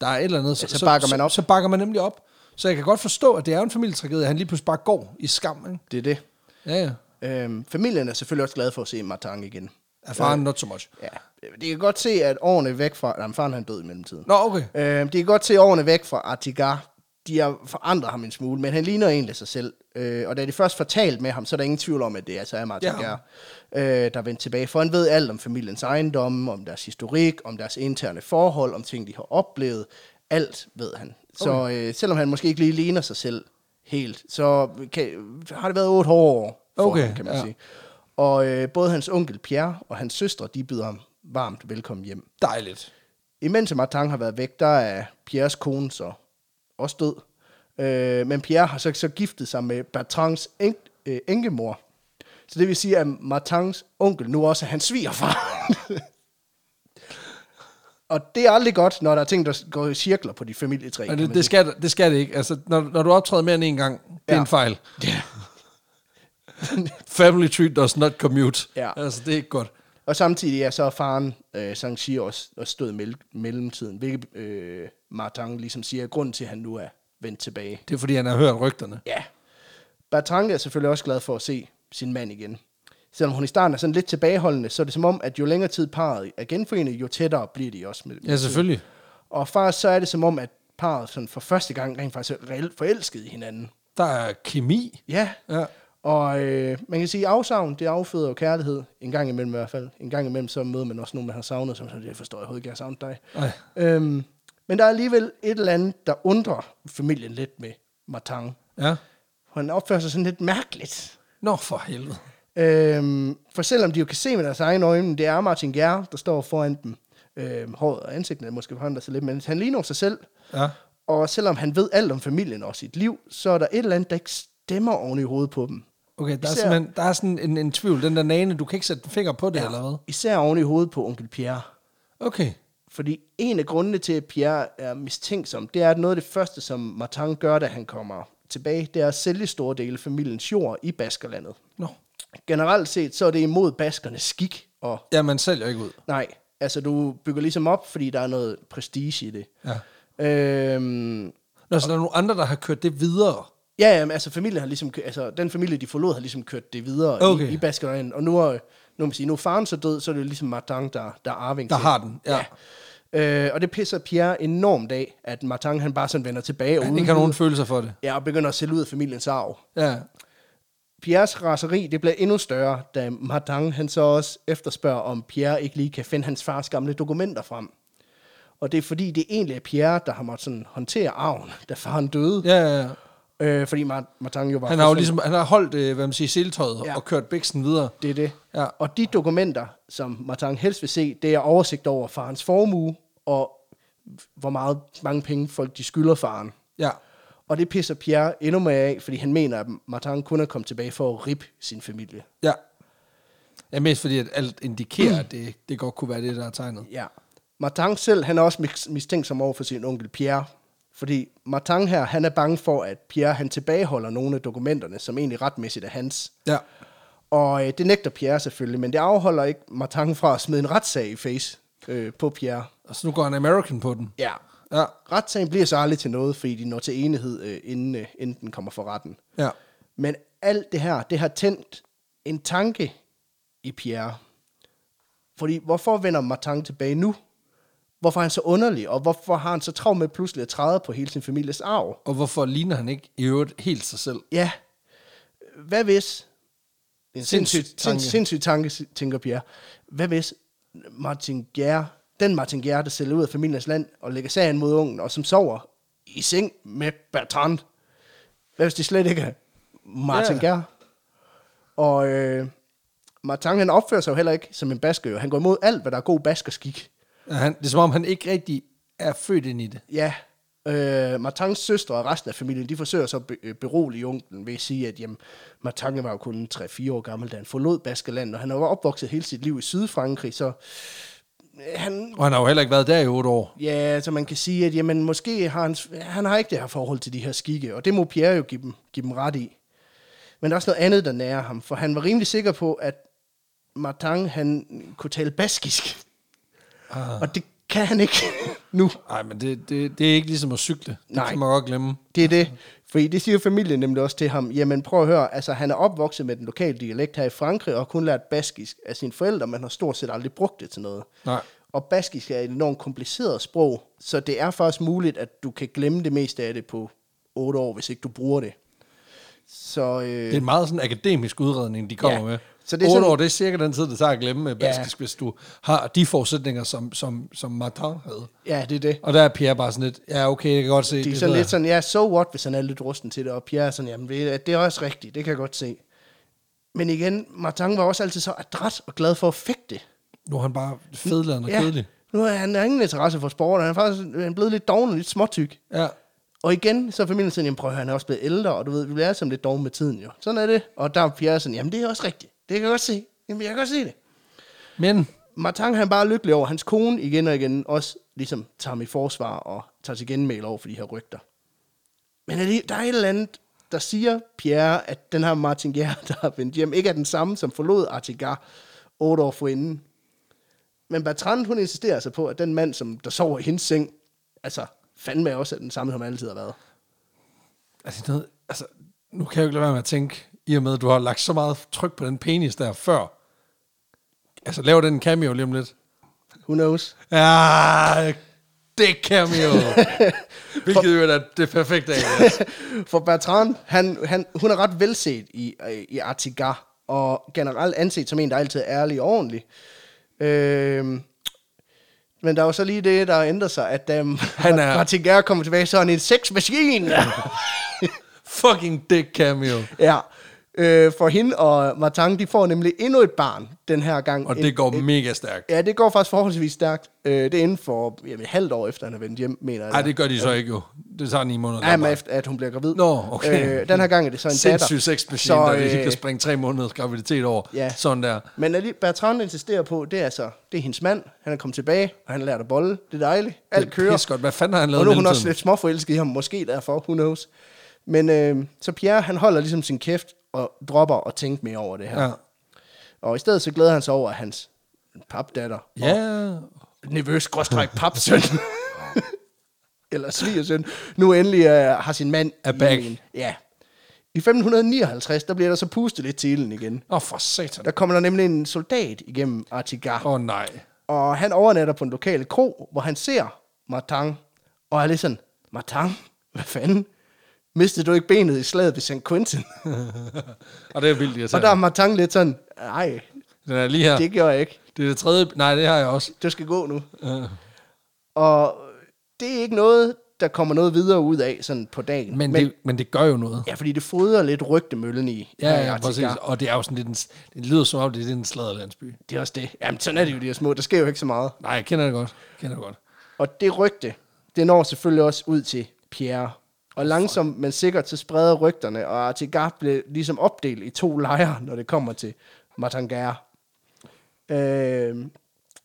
der er et eller andet,
Ja, så bakker man op.
Så, så bakker man nemlig op. Så jeg kan godt forstå, at det er jo en familietragedie, at han lige pludselig bare går i skam, ikke?
Det er det.
Ja, ja.
Øhm, familien er selvfølgelig også glad for at se Martang igen.
Erfaren, not so much.
Ja, de kan godt se, at årene væk fra... Nej, men faren han døde i mellemtiden.
Nå, okay.
Øhm, de kan godt se at årene væk fra Artigar. De har forandret ham en smule, men han ligner egentlig sig selv. Øh, og da de først får talt med ham, så er der ingen tvivl om, at det altså er Martin
Ja.
ja. øh, der er vendt tilbage. For han ved alt om familiens ejendomme, om deres historik, om deres interne forhold, om ting, de har oplevet. Alt ved han. Så øh, selvom han måske ikke lige ligner sig selv helt, så kan, har det været otte hårde år for
Okay,
ham, kan man
ja.
sige. Og øh, både hans onkel Pierre og hans søstre, de byder ham varmt velkommen hjem.
Dejligt.
Imens Martin har været væk, der er Pierres kone så også død. Øh, men Pierre har så, så giftet sig med Bertrands en, øh, enkemor. Så det vil sige, at Martins onkel nu også er hans svigerfar. Og det er aldrig godt, når der er ting, der går i cirkler på de familietræ.
Og
kan man
det, det,
sige.
skal, det skal det ikke. Altså, når, når du optræder mere end en gang, det er
Ja.
en fejl. Family tree does not commute.
Ja.
Altså, det er ikke godt.
Og samtidig er så faren øh, Sanxi også, også stået i mel- mellemtiden, hvilket øh, Martin ligesom siger, er grunden til, at han nu er vendt tilbage.
Det er, fordi han har hørt rygterne.
Ja. Bertrand er selvfølgelig også glad for at se sin mand igen. Selvom hun i starten er sådan lidt tilbageholdende, så er det som om, at jo længere tid parret er genforenet, jo tættere bliver de også. Med, med
Ja, selvfølgelig.
tiden. Og faktisk så er det som om, at parret sådan for første gang rent faktisk er reelt forelsket i hinanden.
Der er kemi.
Ja.
Ja.
Og øh, man kan sige, at afsavn, det afføder jo kærlighed. En gang imellem i hvert fald. En gang imellem, så møder man også nogen, man har savnet, som sådan, jeg forstår jeg overhovedet ikke, jeg har savnet dig.
Ej.
Øhm, men der er alligevel et eller andet, der undrer familien lidt med Martin.
Ja.
Han opfører sig sådan lidt mærkeligt.
Nå, for helvede.
Øhm, for selvom de jo kan se med deres egne øjne, det er Martin Gjerre, der står foran dem. Øhm, håret og ansigtet måske forandrer sig lidt, men han ligner jo sig selv.
Ja.
Og selvom han ved alt om familien og sit liv, så er der et eller andet, der ikke stemmer oven i hovedet på dem.
Okay, der er,
Især-
simpelthen, der er sådan en, en tvivl. Den der nane, du kan ikke sætte en finger på det, ja. eller hvad?
Især oven i hovedet på onkel Pierre.
Okay.
Fordi en af grundene til, at Pierre er mistænksom, det er, at noget af det første, som Martin gør, da han kommer tilbage, det er at sælge store dele af familiens jord i Baskerlandet.
Nå.
Generelt set, så er det imod baskernes skik og
Ja, man sælger ikke ud.
Nej, altså du bygger ligesom op, fordi der er noget prestige i det.
Ja.
Øhm,
Nå, så der er nogle andre, der har kørt det videre.
ja, jamen, altså familien har ligesom, kø- altså den familie, de forlod, har ligesom kørt det videre
Okay.
i, i Baskerland. Og nu er, nu, kan man sige, nu er faren så død, så er det jo ligesom Martin, der, der er arving
Der
til.
har den, ja.
ja. Øh, og det pisser Pierre enormt af, at Martin han bare sådan vender tilbage og
Han
uden
ikke har nogen
videre-
følelser for det.
Ja, og begynder at sælge ud af familiens arv.
Ja.
Pierres raseri, det bliver endnu større, da Martin han så også efterspørger, om Pierre ikke lige kan finde hans fars gamle dokumenter frem. Og det er fordi, det egentlig er Pierre, der har måttet sådan håndtere arven, da faren døde.
Ja, ja, ja.
Øh, fordi Mar- Martin jo var...
Han har jo
fuldstændig-
ligesom, han har holdt, øh, hvad man siger, seletøjet
Ja.
og kørt bæksen videre.
Det er det.
Ja.
Og de dokumenter, som Martin helst vil se, det er oversigt over farens formue, og hvor meget, mange penge folk de skylder faren.
Ja.
Og det pisser Pierre endnu mere af, fordi han mener, at Martin kun er kommet tilbage for at rip sin familie.
Ja. Ja, mest fordi, at alt indikerer, at det, det godt kunne være det, der er tegnet.
Ja. Martin selv, han er også mis- mistænksom over for sin onkel Pierre. Fordi Martin her, han er bange for, at Pierre han tilbageholder nogle af dokumenterne, som egentlig retmæssigt er hans.
Ja.
Og øh, det nægter Pierre selvfølgelig, men det afholder ikke Martin fra at smide en retssag i face øh, på Pierre.
Og så nu går han American på den.
Ja.
Ja.
Retssagen bliver så aldrig til noget, fordi de når til enighed, øh, inden, øh, inden den kommer for retten.
Ja.
Men alt det her, det har tændt en tanke i Pierre. Fordi hvorfor vender Martin tilbage nu? Hvorfor er han så underlig, og hvorfor har han så travlt med pludselig at træde på hele sin families arv?
Og hvorfor ligner han ikke i øvrigt helt sig selv?
Ja, hvad hvis... Det er en
Sindssyg
sindssyg,
tanke.
tanke. sindssyg tanke, si- tænker Pierre. Hvad hvis Martin Gjerre, den Martin Gjerre, der sælger ud af familiens land og lægger sagen mod ungen, og som sover i seng med Bertrand? Hvad hvis det slet ikke er Martin
Ja.
yeah. Gjerre? Og øh, Martin, han opfører sig jo heller ikke som en basker. jo. Han går imod alt, hvad der er god baskerskik.
Ja, Han, det er som om, han ikke rigtig er født ind i det.
Ja, Øh, Martins søstre og resten af familien, de forsøger så at be- øh, berolige onklen ved at sige, at jamen, Martin var jo kun 3-4 år gammel, da han forlod Baskerland, og han var opvokset hele sit liv i Sydfrankrig, så øh, han
Og han har jo heller ikke været der i otte år.
Ja, så man kan sige, at jamen, måske har han, han har ikke det her forhold til de her skikke, og det må Pierre jo give dem, give dem ret i. Men der er også noget andet, der nærer ham, for han var rimelig sikker på, at Martin, han kunne tale baskisk. Ah. Og det kan han ikke nu.
Nej, men det, det, det er ikke ligesom at cykle. Det
Nej.
kan man godt glemme.
Det er det. Fordi det siger familien nemlig også til ham, jamen prøv at høre, altså han er opvokset med den lokale dialekt her i Frankrig, og har kun lært baskisk af sine forældre, men har stort set aldrig brugt det til noget.
Nej.
Og baskisk er et enormt kompliceret sprog, så det er faktisk muligt, at du kan glemme det meste af det på otte år, hvis ikke du bruger det. Så
Det er
øh,
en meget sådan akademisk udredning, de kommer
Ja.
med.
Så
Så
det
det
er
er 8
sådan-
år, det er cirka den tid, det tager at glemme øh, baskisk, ja. hvis du har de forudsætninger, som, som, som Martin havde.
ja, det er det.
Og der er Pierre bare sådan lidt, ja okay, jeg kan godt se.
De er
det
sådan
der.
lidt sådan, ja, so what, hvis han er lidt rusten til det, og Pierre er sådan, jamen ved, du, det er også rigtigt, det kan jeg godt se. Men igen, Martin var også altid så adræt og glad for at fægte.
Nu er han bare fedland og ja. kedelig.
Nu har han har ingen interesse for sport, og han er faktisk øh, han er blevet lidt doven og lidt småtyk.
Ja.
Og igen, så er familien sådan, jamen prøv at høre, han er også blevet ældre, og du ved, vi bliver alle sammen lidt doven med tiden jo. Sådan er det. Og der er Pierre sådan, jamen det er også rigtigt. Det kan jeg godt se. Jamen jeg kan godt se det.
Men
Martin han er bare lykkelig over, at hans kone igen og igen også ligesom tager ham i forsvar og tager til genmæl over for de her rygter. Men allige- der er et eller andet, der siger Pierre, at den her Martin Gjer, der er vendt hjem, ikke er den samme, som forlod Artigar otte år forinden. Men Bertrand, hun insisterer altså på, at den mand, som der sover i hendes seng, altså fandme også er den samme, som han altid har været.
altså, det er noget, altså, nu kan jeg jo ikke lade være med at tænke, i og med, at du har lagt så meget tryk på den penis der før. Altså, lav den en cameo lige om lidt.
Who knows?
Ja, det cameo. Hvilket jo er det perfekte af.
For Bertrand, han, han, hun er ret velset i, øh, i Artigar, og generelt anset som en, der altid er ærlig og ordentlig. Øhm, men der er jo så lige det, der ændrer sig, at da han
Han
er...
er-
Artigar kommer tilbage, så er han en sexmaskine.
Fucking dick cameo.
ja. Øh, for hende og Martin, de får nemlig endnu et barn den her gang.
Og
En-
det går mega stærkt.
Ja, det går faktisk forholdsvis stærkt. Øh, det er inden for jamen, et halvt år efter, han er vendt hjem, mener jeg.
Nej, det gør de så ikke jo. Det tager ni måneder.
Jamen, efter at hun bliver gravid.
Nå, okay.
Øh, den her gang er det så en
Sindssyg
datter.
sexmaskine, der lige
øh,
kan springe tre måneders graviditet over.
Ja.
Sådan der.
Men alli- Bertrand insisterer på, det er altså, det er hendes mand, han er kommet tilbage, og han har lært at bolle, det er dejligt, alt
Det er
kører.
pissegodt. Hvad fanden har han lavet
og nu er hun
hele
også
tiden?
lidt småforelsket i ham, måske derfor, who knows. Men øh, så Pierre, han holder ligesom sin kæft, og dropper at tænke mere over det her. Ja.
Ja.
Og i stedet så glæder han sig over, at hans papdatter,
Ja.
nervøs gråstræk papsøn, eller svigersøn, nu endelig øh, har sin mand
Er
i
back.
en- Ja. I 1559, der bliver der så pustet lidt til ilden igen.
Nå, for satan.
Der kommer der nemlig en soldat igennem Artigar.
Åh oh, nej.
Og han overnatter på en lokal kro, hvor han ser Martin. Og er lidt sådan, Martin, hvad fanden? Mistede du ikke benet i slaget ved St. Quentin?
Og det er vildt irriterende.
Og der er Martin lidt sådan, nej,
Den er lige her.
det gjorde jeg ikke.
Det er det tredje. Nej, det har jeg også.
Du skal gå nu.
Øh.
Og det er ikke noget, der kommer noget videre ud af sådan på dagen.
Men, men, det, men det gør jo noget.
ja, fordi det fodrer lidt rygtemøllen i.
Ja,
i
ja,
Artigar.
præcis. Og det er jo sådan lidt en... Det lyder som om, det er lidt en sladderlandsby.
Det er også det. Jamen, sådan er det jo, de her små. Der sker jo ikke så meget.
Nej, jeg kender det godt. Jeg kender det godt.
Og det rygte, det når selvfølgelig også ud til Pierre. Og langsomt, men sikkert, så spreder rygterne, og Artigar blev ligesom opdelt i to lejre, når det kommer til Matangare. Øh,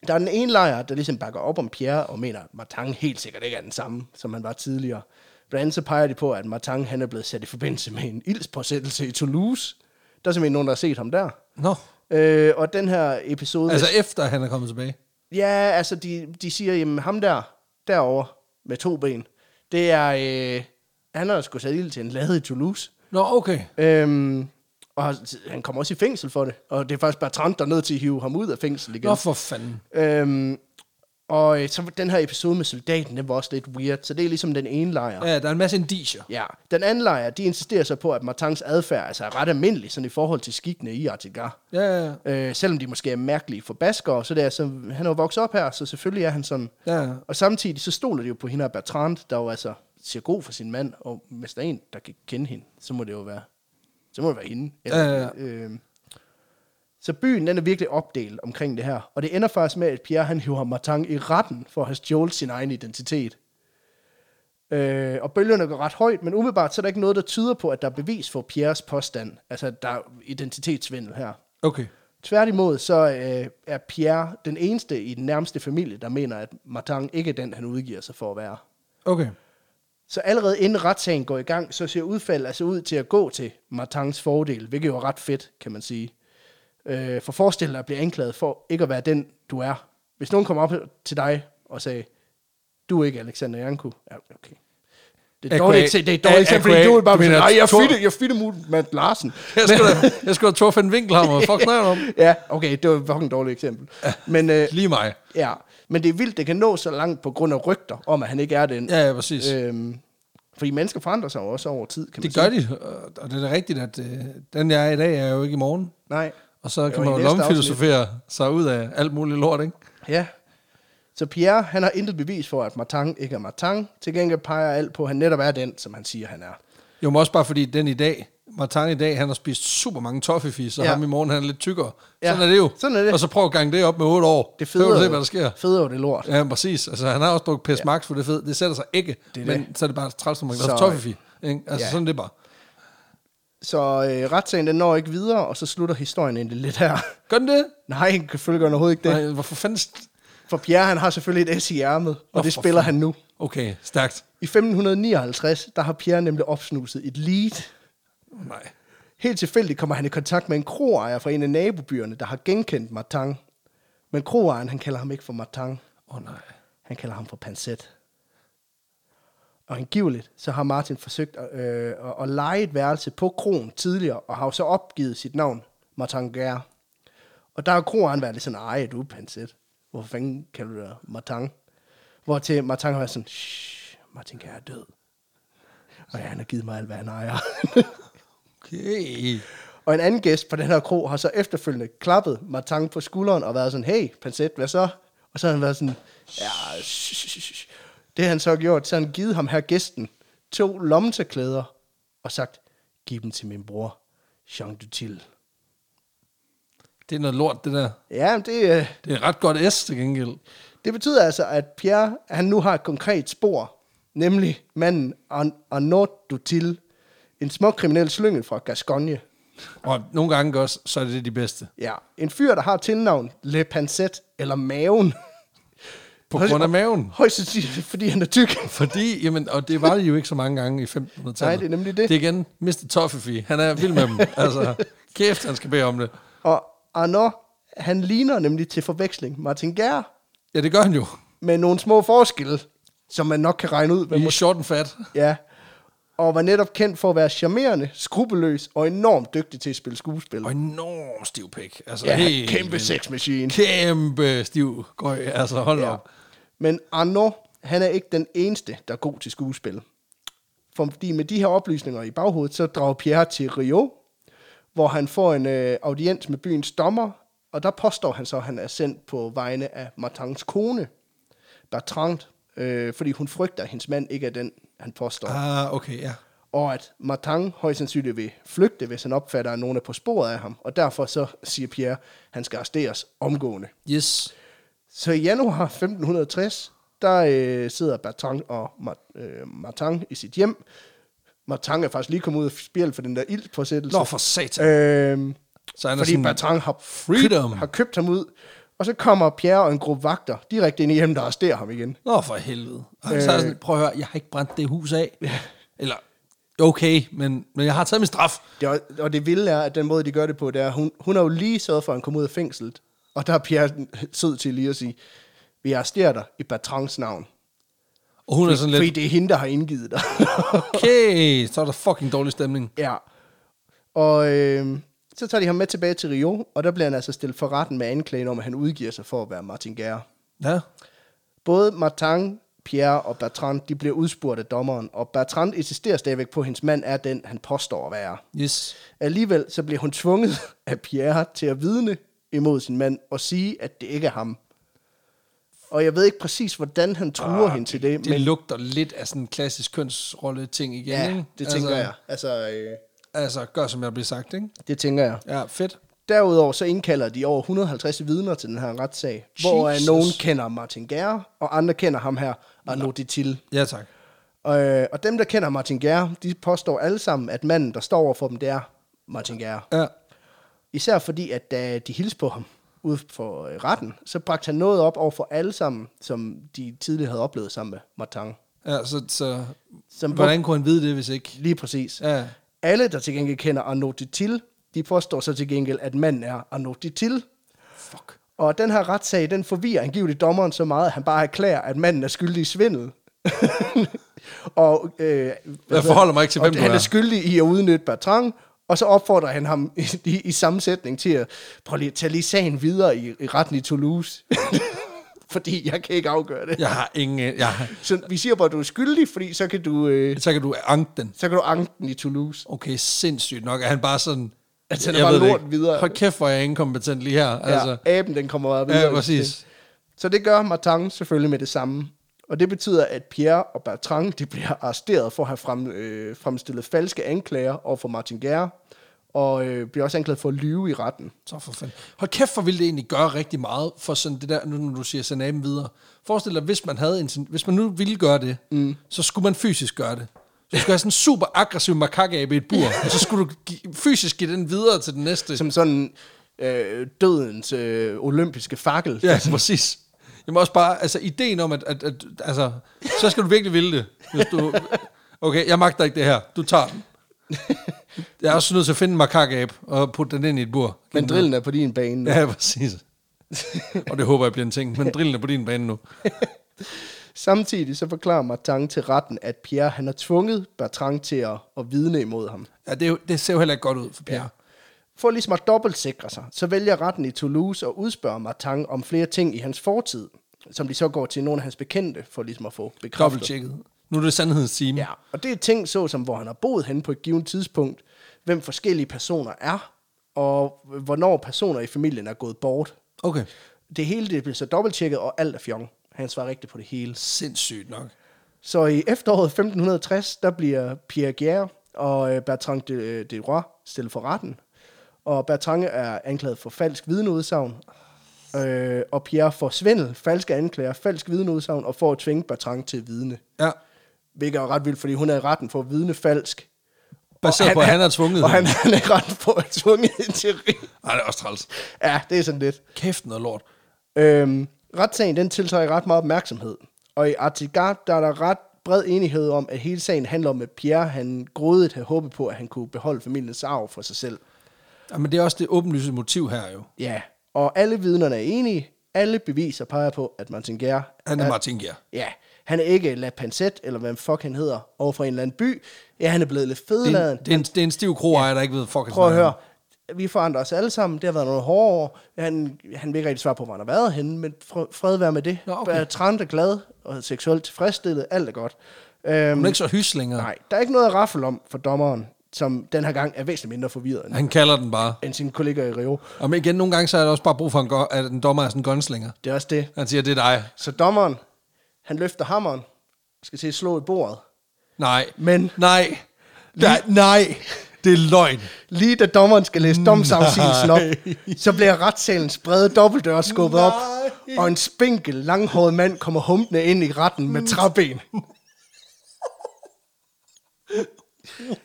der er den ene lejr, der ligesom bakker op om Pierre, og mener, at Martang helt sikkert ikke er den samme, som han var tidligere. Blandt andet så peger de på, at Martang han er blevet sat i forbindelse med en ildspåsættelse i Toulouse. Der er simpelthen nogen, der har set ham der.
Nå.
Øh, og den her episode...
Altså efter han er kommet tilbage.
Ja, altså de, de siger, jamen ham der, derovre med to ben, det er, øh, han har sgu sat ild til en lade i Toulouse.
Nå, okay.
Øhm, og han- han kommer også i fængsel for det. Og det er faktisk Bertrand, der er nødt til at hive ham ud af fængsel igen.
Nå for fanden.
Øhm, og øh, så den her episode med soldaten, den var også lidt weird. Så det er ligesom den ene lejr.
Ja, der er en masse indiger.
Ja, den anden lejr, de insisterer så på, at Martins adfærd altså, er ret almindelig sådan i forhold til skikkene i Artigar.
Ja, ja, ja.
Øh, selvom de måske er mærkelige for baskere, så det er, så, han er jo vokset op her, så selvfølgelig er han sådan.
Ja.
Og samtidig så stoler de jo på hende og Bertrand, der jo altså siger god for sin mand, og hvis der er en, der kan kende hende, så må det jo være, så må det være hende.
Ja, ja,
Øh, så byen, den er virkelig opdelt omkring det her, og det ender faktisk med, at Pierre, han hiver Martin i retten for at have stjålet sin egen identitet. Øh, og bølgerne går ret højt, men umiddelbart så er der ikke noget, der tyder på, at der er bevis for Pierres påstand. Altså, at der er identitetssvindel her.
Okay.
Tværtimod så øh, er Pierre den eneste i den nærmeste familie, der mener, at Martin ikke er den, han udgiver sig for at være.
Okay.
Så allerede inden retssagen går i gang, så ser udfaldet altså ud til at gå til Martins fordel, hvilket jo er ret fedt, kan man sige. Øh, for forestil dig at blive anklaget for ikke at være den, du er. Hvis nogen kommer op til dig og sagde, du er ikke Alexander Janku. Ja, okay. Det er et
AKA.
dårligt, eksempel- det er et dårligt eksempel, fordi
AKA,
du vil bare
du
sige,
mener,
nej, jeg
Thor-
fitte, jeg fitte mod Matt Larsen.
Jeg skulle da, jeg skulle da Torfinn Winkelhammer. Fuck snakker du om?
Ja, okay, det var et fucking dårligt eksempel. Men, øh,
Lige mig.
ja. Men det er vildt, det kan nå så langt på grund af rygter om, at han ikke er den.
Ja, ja, præcis. Øh,
Øhm, fordi mennesker forandrer sig jo også over tid, kan man
det
sige.
gør de, og- og det er da rigtigt, at øh, den jeg er i dag, er jo ikke i morgen.
Nej.
Og så kan
i
man jo
næste
lomfilosofere sig ud af alt muligt lort, ikke?
Ja. Så Pierre, han har intet bevis for, at Martin ikke er Martin. Til gengæld peger alt på, at han netop er den, som han siger, han er.
Jo, men også bare fordi den i dag, Martin i dag, han har spist super mange toffeefis, og ja.
Ja.
ham i morgen, han er lidt tykkere.
Ja,
Sådan er det jo.
sådan er det.
Og så prøv at gange det op med 8 år.
Det
Så kan
federe,
du se, hvad der sker.
federe det lort.
Ja, præcis. Altså, han har også drukket PS ja. Max, for det er fedt. Det sætter sig ikke. Det
er
men så er det bare træls, når man kan
Så-
lave toffeefi. Ikke? Altså, ja.
Ja.
sådan er det bare.
Så øh, retssagen, den når ikke videre, og så slutter historien egentlig lidt her.
Gør den det?
Nej, han kan følge overhovedet ikke det.
Nej, hvorfor fanden... st-
For Pierre, han har selvfølgelig et S i ærmet, og
Nå,
det
for
spiller
fanden.
han nu.
Okay, stærkt.
I 1559, der har Pierre nemlig opsnuset et lead.
Nej.
Helt tilfældigt kommer han i kontakt med en kroejer fra en af nabobyerne, der har genkendt Martin. Men kroejeren, han kalder ham ikke for Martin.
Åh, oh, nej.
Han kalder ham for Pansette. Og angiveligt, så har Martin forsøgt at, øh, at, at lege et værelse på kroen tidligere, og har jo så opgivet sit navn, Martin Gær. Og der har kroeren været lidt sådan, ej, du er Pansette. Hvorfor fanden kalder du dig Martin? Hvor til Martin har været sådan, shh, Martin Gær er død. Og ja, han har givet mig alt, hvad han ejer.
Okay.
og en anden gæst på den her kro har så efterfølgende klappet Martin på skulderen og været sådan, hey, Pansette, hvad så? Og så har han været sådan, ja, shh, shh, shh. det har han så har gjort, så har han givet ham her gæsten to lommetørklæder og sagt, giv dem til min bror, Jean Dutil.
Det er noget lort, det der.
Ja, men det, øh,
Det er et ret godt S til gengæld.
det betyder altså, at Pierre, han nu har et konkret spor, nemlig manden Ar- Arnaud Dutil, en smuk kriminel slyngel fra Gascogne.
Og nogle gange også, så er det de bedste.
Ja, en fyr, der har tilnavn Le Pansette eller Maven.
På grund af maven.
Højst sandsynligt, fordi han er tyk.
Fordi, jamen, og det var det jo ikke så mange gange i 1500-tallet.
Nej, det er nemlig det.
Det er igen Mr. Toffefi. Han er vild med dem. Altså, kæft, han skal bede om det.
Og Arnaud, han ligner nemlig til forveksling Martin Gær,
Ja, det gør han jo.
med nogle små forskelle, som man nok kan regne ud. Hvem
I er
måske,
short and fat.
ja. Og var netop kendt for at være charmerende, skrupelløs og enormt dygtig til at spille skuespil.
Og enorm stiv pik. Altså,
Ja,
helt
kæmpe
vildt.
sexmaskine.
Kæmpe stiv gøj. Altså, hold ja.
Ja.
op.
Men Arnaud, han er ikke den eneste, der er god til skuespil. For- Fordi med de her oplysninger i baghovedet, så drager Pierre til Rio, hvor han får en øh, audiens med byens dommer, og der påstår han så, at han er sendt på vegne af Martins kone, Bertrand, øh, fordi hun frygter, at hendes mand ikke er den, han påstår. Ah.
Ah, okay, ja.
Og at Martin højst sandsynligt vil flygte, hvis han opfatter, at nogen er på sporet af ham. Og derfor så siger Pierre, at han skal arresteres omgående.
Yes.
Så i januar 1560, der øh, sidder Bertrand og Mar- øh, Martin i sit hjem. Martin er faktisk lige kommet ud af spjæl for den der ildpåsættelse.
Nå, for satan.
øhm,
Så han er
fordi
sådan-
Bertrand har,
Freedom.
Købt, har købt ham ud. Og så kommer Pierre og en gruppe vagter direkte ind i hjemmet og arresterer ham igen.
Nå, for helvede. Og han øh. sagde sådan, prøv at høre, jeg har ikke brændt det hus af. Eller, okay, men, men jeg har taget min straf.
Det, er- og det vilde er, at den måde, de gør det på, det er, hun, hun har jo lige sørget for, at han kom ud af fængslet. Og der er Pierre sød til lige at sige, vi arresterer dig i Bertrands navn.
Og hun er sådan
Fordi
lidt,
det er hende, der har indgivet dig.
okay, så er der fucking dårlig stemning.
Ja. Og øh, så tager de ham med tilbage til Rio, og der bliver han altså stillet for retten med anklagen om, at han udgiver sig for at være Martin Gær.
Ja.
Både Martin, Pierre og Bertrand, de bliver udspurgt af dommeren, og Bertrand insisterer stadigvæk på, at hendes mand er den, han påstår at være.
Yes.
Alligevel så bliver hun tvunget af Pierre til at vidne imod sin mand og sige, at det ikke er ham. Og jeg ved ikke præcis, hvordan han truer hende til det,
Ah, Det men... lugter lidt af sådan en klassisk kønsrolle-ting igen.
ja,
ikke?
det tænker
altså,
jeg. Altså, øh,
Altså, gør som jeg bliver sagt, ikke?
det tænker jeg.
Ja, fedt.
Derudover så indkalder de over 150 vidner til den her retssag, hvor
Jesus.
nogen kender Martin Gær, og andre kender ham her, Arnaud Ditil.
Ja, tak.
Og, øh, og dem, der kender Martin Gær, de påstår alle sammen, at manden, der står over for dem, det er Martin Gær.
Ja.
Især fordi, at da de hilste på ham ude for øh, retten, så bragte han noget op over for alle sammen, som de tidligere havde oplevet sammen med Martin.
ja så, så
Som
hvordan kunne han vide det, hvis ikke?
Lige præcis.
Ja.
Alle, der til gengæld kender Arnaud Ditil, de påstår så til gengæld, at manden er Arnaud Ditil.
Fuck.
Og den her retssag, den forvirrer angiveligt dommeren så meget, at han bare erklærer, at manden er skyldig i svindel. og, øh,
Jeg forholder mig ikke til,
og
hvem du
Han
er.
er skyldig i at udnytte Bertrand, og så opfordrer han ham i, i, i sammensætning til at prøve lige, tage lige sagen videre i, i retten i Toulouse. fordi jeg kan ikke afgøre det. Ja.
Jeg har ingen... Jeg, har-
Så vi siger bare, at du er skyldig, fordi så kan du, øh,
så kan du anke den.
så kan du anke den i Toulouse.
Okay, sindssygt nok. Er han bare sådan...
Altså, han er
jeg
bare
ved det
lort
ikke.
videre.
Hold kæft, hvor er jeg inkompetent lige her. Altså,
Altså. Ja, aben, den kommer bare videre.
ja, præcis.
Så det gør Martin selvfølgelig med det samme. Og det betyder, at Pierre og Bertrand de bliver arresteret for at have frem, øh, fremstillet falske anklager over for Martin Gær, og øh, bliver også anklaget for at lyve i retten.
Så for fanden. Hold kæft, hvor ville det egentlig gøre rigtig meget for sådan det der, nu når du siger sende aben videre. Forestil dig, hvis man, havde en, sådan- hvis man nu ville gøre det, mm. så skulle man fysisk gøre det. Så skulle have sådan en super aggressiv makakabe i et bur, og så skulle du gi- fysisk give den videre til den næste.
Som sådan øh, dødens øh, olympiske fakkel.
Ja, præcis. Jamen Altså, også bare, altså ideen om, at, at, at altså, så skal du virkelig ville det. Hvis du, okay, jeg magter ikke det her. Du tager den. Jeg er også nødt til at finde en makakab og putte den ind i et bur.
Men drillen er på din bane. Ja.
Ja, præcis. Og det håber jeg bliver en ting, men drillen er på din bane nu.
Samtidig så forklarer Martin til retten, at Pierre han har tvunget Bertrand til at, at vidne imod ham.
Ja, det, er jo- det ser jo heller ikke godt ud for Pierre.
For ligesom at dobbeltsikre sig, så vælger retten i Toulouse at udspørge Martin om flere ting i hans fortid, som de så går til nogle af hans bekendte for ligesom at få
Ja.
bekræftet.
Dobbelt tjekket. Nu er det sandhedens time.
Ja, og det er ting såsom, hvor han har boet henne på et givet tidspunkt, hvem forskellige personer er, og hvornår personer i familien er gået bort.
Okay.
Det hele det bliver så dobbelttjekket, og alt er fjong. Han svarer rigtigt på det hele.
Sindssygt nok.
Så i efteråret 1560, der bliver Pierre Guerre og øh, Bertrand de, de Roy stillet for retten. Og Bertrand er anklaget for falsk vidneudsagn. Øh, og Pierre for svindel, falske anklager, falsk vidneudsagn og for at tvinge Bertrand til at vidne.
Ja.
Hvilket er jo ret vildt, fordi hun er i retten for at vidne falsk.
Baseret på, at han har tvunget
Og han,
hende.
han er i retten for at tvunget hende til at ri-
Ej, det er også træls.
Ja, det er sådan lidt.
Kæft noget lort.
Øhm, retssagen den tiltrækker ret meget opmærksomhed. Og i Artigard, der er der ret bred enighed om, at hele sagen handler om, at Pierre han grådigt havde håbet på, at han kunne beholde familiens arv for sig selv.
Ja, men det er også det åbenlyse motiv her jo.
Ja. Og alle vidnerne er enige. Alle beviser peger på, at Martin Gær,
Han er Martin Gjer.
ja, han er ikke La Pancette, eller hvad fuck han hedder, over for en eller anden by. Ja, han er blevet lidt
Det er,
fedladen.
en, det, er en, det er en stiv kroejer, der ikke ved fuck
Prøv at høre. Vi forandrer os alle sammen. Det har været nogle hårde år. Han, han vil ikke rigtig svare på, hvor han har været henne, men fr- fred være med det.
Nå, okay.
Bertrand er glad og seksuelt tilfredsstillet. Alt er godt. Øhm,
Hun er ikke så hys længere.
nej, der er ikke noget at raffle om for dommeren, som den her gang er væsentligt mindre forvirret
Han kalder den bare.
end sine kolleger i Rio.
Og men igen, nogle gange så er der også bare brug for, en go- at en dommer er sådan en gunslinger.
Det er også det.
Han siger, det er dig.
Så dommeren, han løfter hammeren, skal til at slå i bordet.
Nej.
Men-
Nej. Der, nej. Det er løgn.
Lige da dommeren skal læse domsafsigelsen op, så bliver retssalens brede dobbeltdør skubbet op,
Nej.
og en spinkel, langhåret mand kommer humpende ind i retten med træben.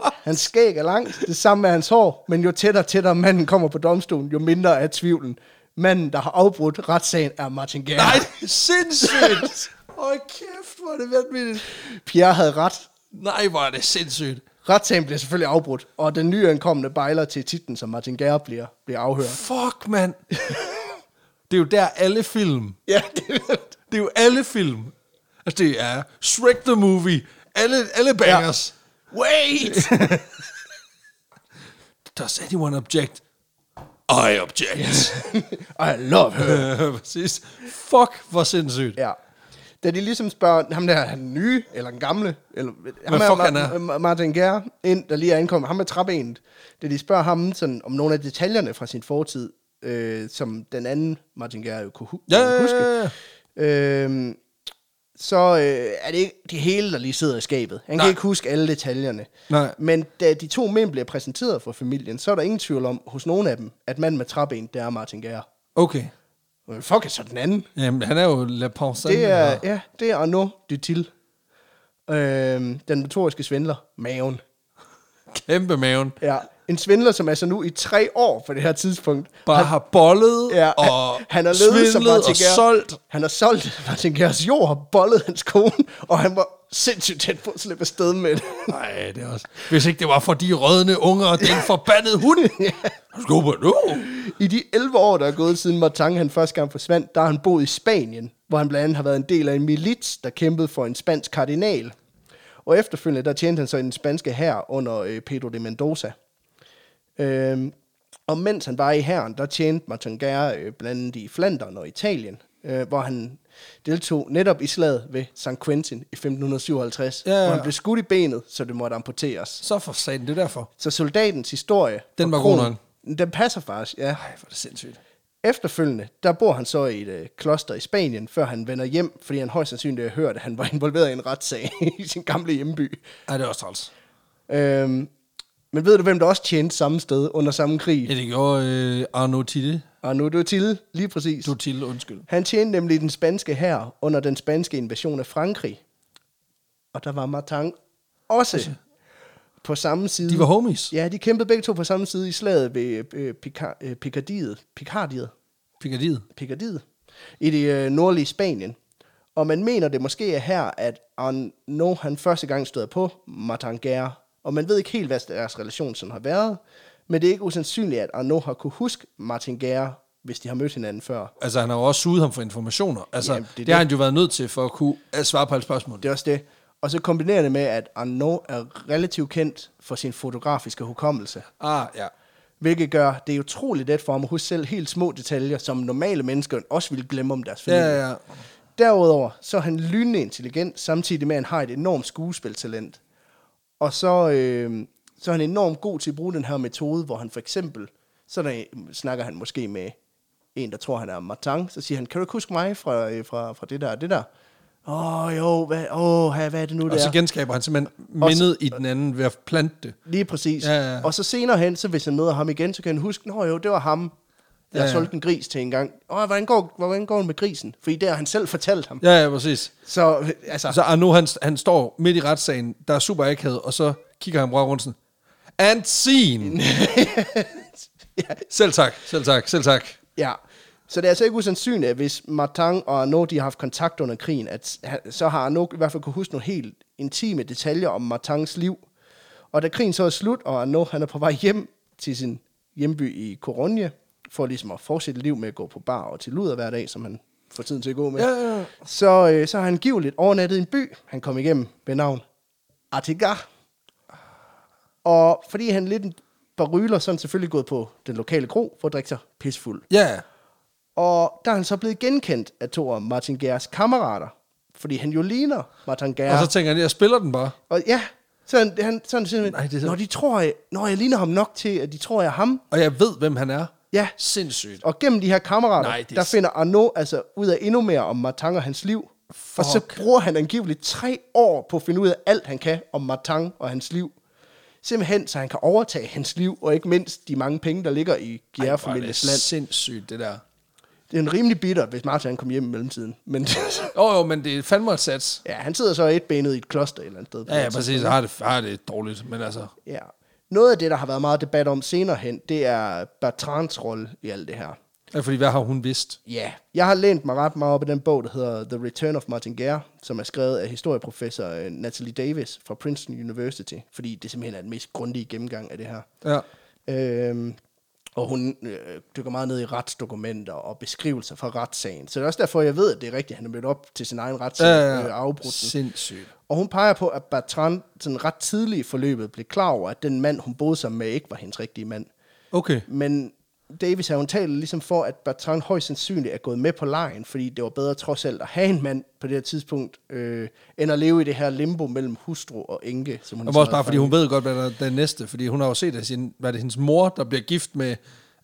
Hans skæg er langt, det samme er hans hår, men jo tættere og tættere manden kommer på domstolen, jo mindre er tvivlen. Manden, der har afbrudt retssagen, er Martin Gær.
Nej, det er sindssygt. Hold kæft, hvor er det vanvittigt.
Pierre havde ret.
Nej, hvor er det sindssygt.
Retssagen bliver selvfølgelig afbrudt, og den nyankomne bejler til titlen, som Martin Gær bliver, bliver afhørt.
Fuck, mand. Det er jo der alle film.
Ja, det er
Det er jo alle film. Altså, det er Shrek the Movie. Alle, alle bangers.
Wait!
Does anyone object? I object.
I love her.
Øh, præcis. Fuck, hvor sindssygt.
Ja. Da de ligesom spørger ham der, er han nye, eller den gamle, eller ham
fuck han er.
Ma- Martin Gær, ind, der lige er ankommet, ham med trappenet, da de spørger ham sådan, om nogle af detaljerne fra sin fortid, øh, som den anden Martin Gær jo kunne hu-
Ja,
kunne huske,
ja, ja.
øh, så øh, er det ikke det hele, der lige sidder i skabet. Han Nej.
Nej.
kan ikke huske alle detaljerne.
Nej.
Men da de to mænd bliver præsenteret for familien, så er der ingen tvivl om, hos nogen af dem, at manden med trappenet, det er Martin Gær.
Okay.
Øh, Fuck, er så den anden?
Jamen, han er jo La Pensée.
Det er, ja, det er Arnaud Dutil. Øhm, den notoriske svindler, Maven.
Kæmpe maven.
Ja. En svindler, som altså nu i tre år på det her tidspunkt
Bare har bollet
Ja,
og
han har levet som
svindlet
Martin
og
Gehr.
solgt.
Han har solgt Martin Gers jord og bollet hans kone, og han var sindssygt tæt på at slippe afsted med det.
Nej, det er også... Hvis ikke det var for de rødne unger og den forbandede hund. Skub nu.
I de 11 år, der er gået siden Martin han første gang forsvandt, der har han boet i Spanien, hvor han blandt andet har været en del af en milits, der kæmpede for en spansk kardinal. Og efterfølgende, der tjente han så i den spanske hær under øh, Pedro de Mendoza. Øhm, og mens han var i hæren, der tjente Martin Guerre øh, blandt andet i Flandern og Italien, øh, hvor han deltog netop i slaget ved San Quentin i 1557,
Ja, ja, ja.
hvor han blev skudt i benet, så det måtte amputeres.
Så for satan, det er derfor.
Så soldatens historie...
Den
og
var god
kronen, Den passer faktisk, ja.
Nej, hvor er det sindssygt.
Efterfølgende, der bor han så i et øh, kloster i Spanien, før han vender hjem, fordi han højst sandsynligt har hørt, at han var involveret i en retssag i sin gamle hjemby.
Nej, det er også træls.
Øhm, men ved du, hvem der også tjente samme sted under samme krig?
Ja, det gjorde øh, Arno Tille.
Og nu er du til, lige præcis.
Du Tille, undskyld.
Han tjente nemlig den spanske hær under den spanske invasion af Frankrig. Og der var Martin også på samme side.
Altså, De var homies.
Ja, de kæmpede begge to på samme side i slaget ved øh, Pica- øh, Picardiet. Picardiet.
Picardiet.
Picardiet i det øh, nordlige Spanien. Og man mener, det måske er her, at Arnaud han første gang støder på Martin Guerre. Og man ved ikke helt, hvad deres relation sådan har været. Men det er ikke usandsynligt, at Arnaud har kunne huske Martin Guerre, hvis de har mødt hinanden før.
Altså, han har jo også suget ham for informationer. Altså,
Jamen,
Jamen,
det er
det, det,
det.
har han jo været nødt til for at kunne øh, svare på alle spørgsmål.
Det er også det. Og så kombinerer det med, at Arnaud er relativt kendt for sin fotografiske hukommelse.
Ah, ja.
Hvilket gør det utroligt let for ham at huske selv helt små detaljer, som normale mennesker også ville glemme om deres familie.
Ja, ja, ja.
Derudover så er han lynende intelligent, samtidig med at han har et enormt skuespiltalent. Og så, øh, så er han enormt god til at bruge den her metode, hvor han for eksempel, så der, snakker han måske med en, der tror, han er Martin, så siger han, kan du ikke huske mig fra, øh, fra, fra det der og det der? Åh oh, jo, hvad, oh, hvad er det nu, det
Og så
er?
genskaber han simpelthen mindet i den anden ved at plante det.
Lige præcis.
Ja, ja, ja.
Og så senere hen, så hvis han møder ham igen, så kan han huske, nå jo, det var ham, der
Ja,
ja,
ja.
solgte en gris til en gang. Åh, hvordan går, hvordan går det med grisen? Fordi det har han selv fortalt ham. Ja.
Ja, ja, præcis.
Så, øh, altså,
Så Arno, han, han står midt i retssagen, der er super akavet, og så kigger han bare rundt sådan, and scene! Selv tak, selv tak, selv tak.
Ja, så det er altså ikke usandsynligt, at hvis Martin og Arnaud de har haft kontakt under krigen, at han- så har Arnaud i hvert fald kunne huske nogle helt intime detaljer om Martins liv. Og da krigen så er slut, og Arnaud han er på vej hjem til sin hjemby i Coronje, for ligesom at fortsætte liv med at gå på bar og til luder hver dag, som han får tiden til at gå med,
Ja, ja, ja.
Så, øh, så har han givet overnattet i en by, han kom igennem ved navn Artigar. Og fordi han lidt en baryler, så er han selvfølgelig gået på den lokale kro for at drikke sig pissfuld.
Ja,
Og der er han så blevet genkendt af to af Martin Gers kammerater. Fordi han jo ligner Martin Gers.
og
Og,
så tænker han, jeg spiller den bare.
og ja, så han, han, så han simpelthen,
Nej,
Nej,
det er
det
så-
når, de tror, jeg, når jeg ligner ham nok til, at de tror, jeg er ham.
Og jeg ved, hvem han er.
Ja.
Sindssygt.
Og gennem de her kammerater,
Nej,
Nej,
det er
der
s-
finder Arnaud altså ud af endnu mere om Martin og hans liv. Fuck. Og så
Fuck.
bruger han angiveligt tre år på at finde ud af alt, han kan om Martin og hans liv. Simpelthen, så han kan overtage hans liv, og ikke mindst de mange penge, der ligger i Gjerre-familiens land.
sindssygt, det der.
Det er en rimelig bitter, hvis Martin kom hjem i mellemtiden. Men
Jo, jo, men det er fandme et sats.
Ja, han sidder så etbenet i et kloster et eller andet sted. altså.
Ja, ja, præcis. Jeg har det, har det dårligt, men altså...
Ja. Noget af det, der har været meget debat om senere hen, det er Bertrands rolle i alt det her.
Ja, fordi hvad har hun vidst?
Ja. Jeg har lænt mig ret meget op i den bog, der hedder The Return of Martin Guerre, som er skrevet af historieprofessor øh, Natalie Davis fra Princeton University, fordi det simpelthen er den mest grundige gennemgang af det her.
Ja.
Øhm, og hun øh, dykker meget ned i retsdokumenter og beskrivelser fra retssagen. Så det er også derfor, jeg ved, at det er rigtigt, at han er mødt op til sin egen retssag
Ja, ja,
og øh, afbrudt den.
Sindssygt.
Og hun peger på, at Bertrand sådan ret tidligt i forløbet blev klar over, at den mand, hun boede sammen med, ikke var hendes rigtige mand.
Okay.
Men Davis har hun talt ligesom for, at Bertrand højst sandsynligt er gået med på lejen, fordi det var bedre trods alt at have en mand på det her tidspunkt, øh, end at leve i det her limbo mellem hustru og enke. Som hun
Og
så
også
havde
bare, fordi hun
fanget.
ved godt, hvad der er den næste. Fordi hun har jo set, at sin, hvad er det hendes mor, der bliver gift med...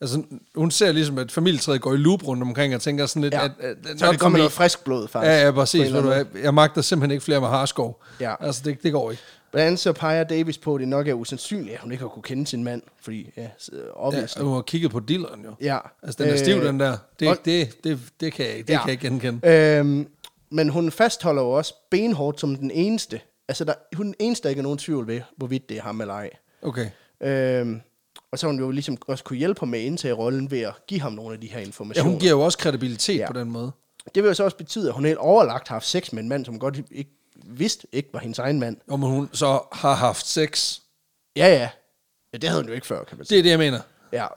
Altså, hun ser ligesom, at familietræet går i loop rundt omkring, og tænker sådan lidt...
Ja.
At, at, at,
Så er
nok
det kommer
familie-
noget frisk blod, faktisk.
Ja, ja,
på en
præcis.
eller
Ved du,
anden
hvad, jeg magter simpelthen ikke flere med harskov.
Ja.
Altså, det, det går ikke.
Blandt andet så peger Davis på, at det nok er usandsynligt, at hun ikke har kunne kende sin mand, fordi, ja, s-
Ja,
obviously.
og hun har kigget på dilleren jo.
Ja.
Altså, den er stiv,
Øh,
den der. Det,
og-
det, det, det kan jeg ikke, det
Ja. Øh,
kan jeg ikke genkende.
Øhm, men hun fastholder jo også benhårdt som den eneste, at altså, der, hun er den eneste, der ikke er nogen tvivl ved, hvorvidt det er ham eller ej.
Okay.
Øhm, og så har hun jo ligesom også kunne hjælpe ham med at indtage rollen ved at give ham nogle af de her
Ja,
informationer.
hun giver jo også kredibilitet ja.
Ja.
på den måde.
Det vil jo så også betyde, at hun helt overlagt har haft sex med en mand, som godt ikke vidste ikke var hendes egen mand.
Om hun så har haft sex.
Ja, ja. ja det havde hun jo ikke før, kan man sige.
Det er det, jeg mener.
Ja.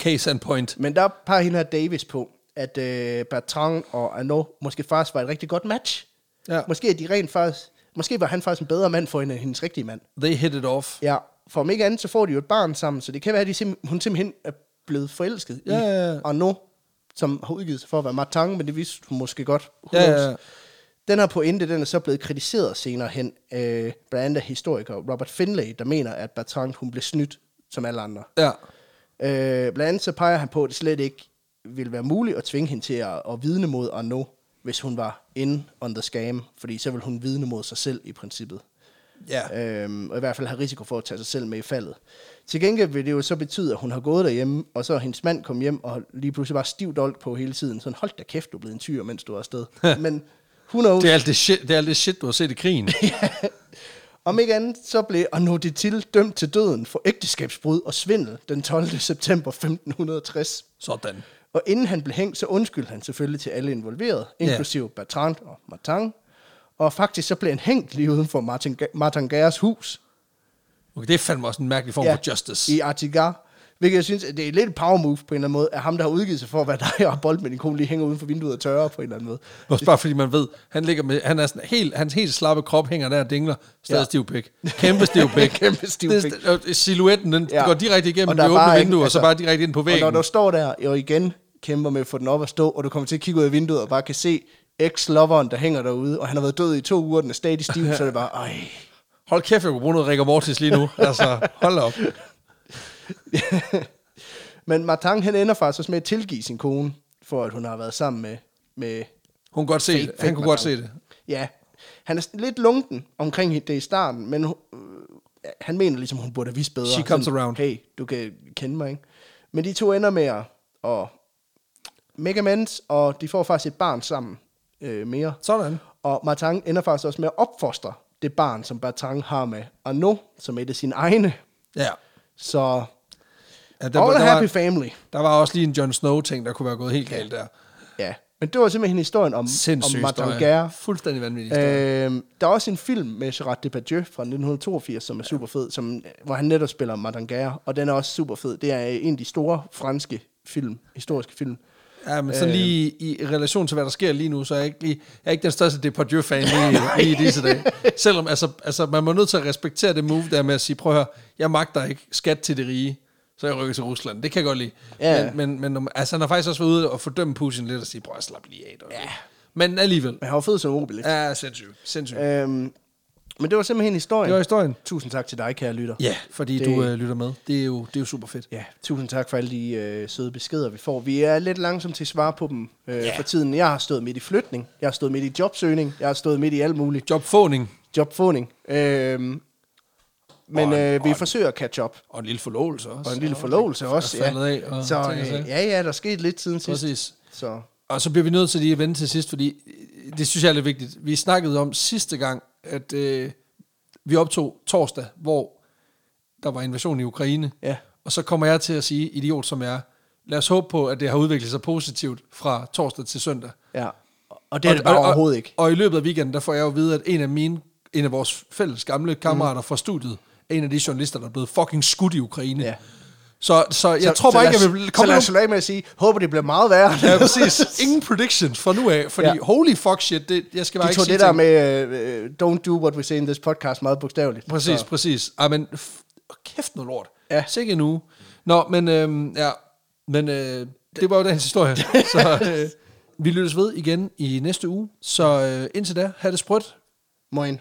Case and point.
Men der peger hende her Davis på, at øh, Bertrand og Arnaud måske faktisk var et rigtig godt match.
Ja.
Måske, er de rent faktisk, måske var han faktisk en bedre mand for hende end hendes rigtige mand.
They hit it off.
Ja, for om ikke andet, så får de jo et barn sammen, så det kan være, at de sim- hun simpelthen er blevet forelsket
Ja, ja, ja.
i Arnaud, som har udgivet sig for at være Martin, men det vidste hun måske godt. Who
Ja, ja,
knows?
ja.
Den her pointe, den er så blevet kritiseret senere hen, øh, blandt andet af historiker Robert Finlay, der mener, at Bertrand, hun blev snydt som alle andre.
Ja.
Øh, blandt andet så peger han på, at det slet ikke ville være muligt at tvinge hende til at, at vidne mod Arnaud, hvis hun var inde on the scam, fordi så ville hun vidne mod sig selv i princippet.
ja.
Øhm, og i hvert fald har risiko for at tage sig selv med i faldet. Til gengæld vil det jo så betyde, at hun har gået derhjemme, og så er hendes mand kom hjem og lige pludselig var stivt dolk på hele tiden. Sådan, hold da kæft, du er blevet en tyr, mens du var afsted. Men who knows?
Det er, alt det, shit, det er alt det shit, du har set i krigen.
Om ikke andet, så blev Arnaud Detil dømt til døden for ægteskabsbrud og svindel den 12. september 1560.
Sådan.
Og inden han blev hængt, så undskyldte han selvfølgelig til alle involverede, inklusive yeah. Bertrand og Martin. Og faktisk så blev han hængt lige uden for Martin, Ga- Martin Gæres hus
Okay, det er fandme også en mærkelig form for justice.
i Artigar. Hvilket jeg synes, at det er lidt et power move på en eller anden måde, at ham, der har udgivet sig for at være dig og bold med din kone, lige hænger uden for vinduet og tørrer på en eller anden måde.
Også bare fordi man ved, han ligger med, han er sådan helt, hans helt slappe krop hænger der og dingler. Stadig ja.
Ja.
stiv pik. Kæmpe stiv pik.
Kæmpe stiv
Det er
pik.
st- og Silhuetten, den ja. går direkte igennem det
der er
åbne
bare
vindue,
ingen-
og så bare direkte ind på væggen.
Og når du står der og igen kæmper med at få den op at stå, og du kommer til at kigge ud af vinduet og bare kan se ex-loveren, der hænger derude, og han har været død i to uger, den er stadig stiv, så er det bare, ej.
Hold kæft, jeg kunne bruge noget Rigger Mortis lige nu. altså, hold op.
Men Martin, han ender faktisk også med at tilgive sin kone, for at hun har været sammen med... med
Hun kunne godt se
Fake-
det. Han
fake
kunne godt se
Martin.
det.
ja, han er sådan lidt lunken omkring det i starten, men hun, øh, han mener ligesom, hun burde have vidst bedre.
She comes around.
Hey, du kan kende mig, ikke? Men de to ender med at... Og Megamans, og de får faktisk et barn sammen øh, mere.
Sådan.
Og Martin ender faktisk også med at opfostre det barn, som Bertrand har med Arnaud, som er et af sine egne.
Ja.
Så
ja
all a
der,
happy
var,
family.
der var også lige en Jon Snow-ting, der kunne være gået helt galt der.
Ja, men det var simpelthen historien om, om
Sindssyg
Martin
historie.
Mm. Guerre.
Fuldstændig vanvittig historie.
Øhm, der er også en film med Gerard Depardieu fra 1982, som er super fed, som, hvor han netop spiller Martin Guerre, og den er også super fed. Det er en af de store franske film, historiske film.
Ja, men sådan lige
Øhm.
i relation til, hvad der sker lige nu, så er jeg ikke, lige, jeg er ikke den største Depardieu-fan lige, lige i disse dage. Selvom, altså, altså, man må nødt til at respektere det move der med at sige, prøv at høre, jeg magter ikke skat til det rige, så jeg rykker til Rusland. Det kan jeg godt lide.
Ja.
Men, men, men om- altså, han har faktisk også været ude og fordømme Putin lidt og sige, prøv at slappe lige af. Ja. Men alligevel.
Men han var fed som Obelix. Ja.
Ja, sindssygt. sindssygt.
Øhm, men det var simpelthen historien.
Det var historien.
Tusind tak til dig, kære lytter.
Ja, fordi det...
Det-
du øh, lytter med. Det er, jo, det er jo super fedt.
Ja, tusind tak for alle de øh, søde beskeder, vi får. Vi er lidt langsomme til at svare på dem øh, for tiden. Jeg har stået midt i flytning, jeg har stået midt i jobsøgning, jeg har stået midt i alt muligt
Jobfåning
jobfunding. Øh, men
Og en-
øh, vi
og en-
forsøger at catch up.
og en lille forlovelse også.
Og en lille forlovelse også, ja.
faldet af og
Så
ting og sager.
øh, ja, ja, der er sket lidt siden sidst.
Præcis.
Så
Og så bliver vi nødt til lige at vende til sidst, fordi øh, det synes jeg er lidt vigtigt. Vi snakkede om sidste gang, at øh, vi optog torsdag, hvor der var invasion i Ukraine.
Ja.
Og så kommer jeg til at sige, idiot som jeg er, lad os håbe på, at det har udviklet sig positivt fra torsdag til søndag.
ja, og det er det bare overhovedet ikke.
Og i løbet af weekenden, der får jeg jo at vide, at en af mine, en af vores fælles gamle kammerater mm. fra studiet, er en af de journalister, der er blevet fucking skudt i Ukraine.
Ja.
Så, så jeg
så,
tror bare
så
ikke,
lad
jeg
os-
vil
Så
komme
lad
med
os slå af med at sige, håber det bliver meget værre.
Ja, præcis. Ingen predictions fra nu af, fordi ja.
Ja.
holy fuck shit, det, jeg skal bare
De
ikke
tog
sige
det der
ting.
med, øh, øh, don't do what we say in this podcast, meget bogstaveligt.
Præcis,
Så,
præcis. Ej, men f- kæft noget lort. Ja.
Ja.
Sikke en uge. Nå, men, øhm, ja, men øh, det var jo dagens historie. så øh, vi lyttes ved igen i næste uge. Så øh, indtil da, have det sprødt.
Moin.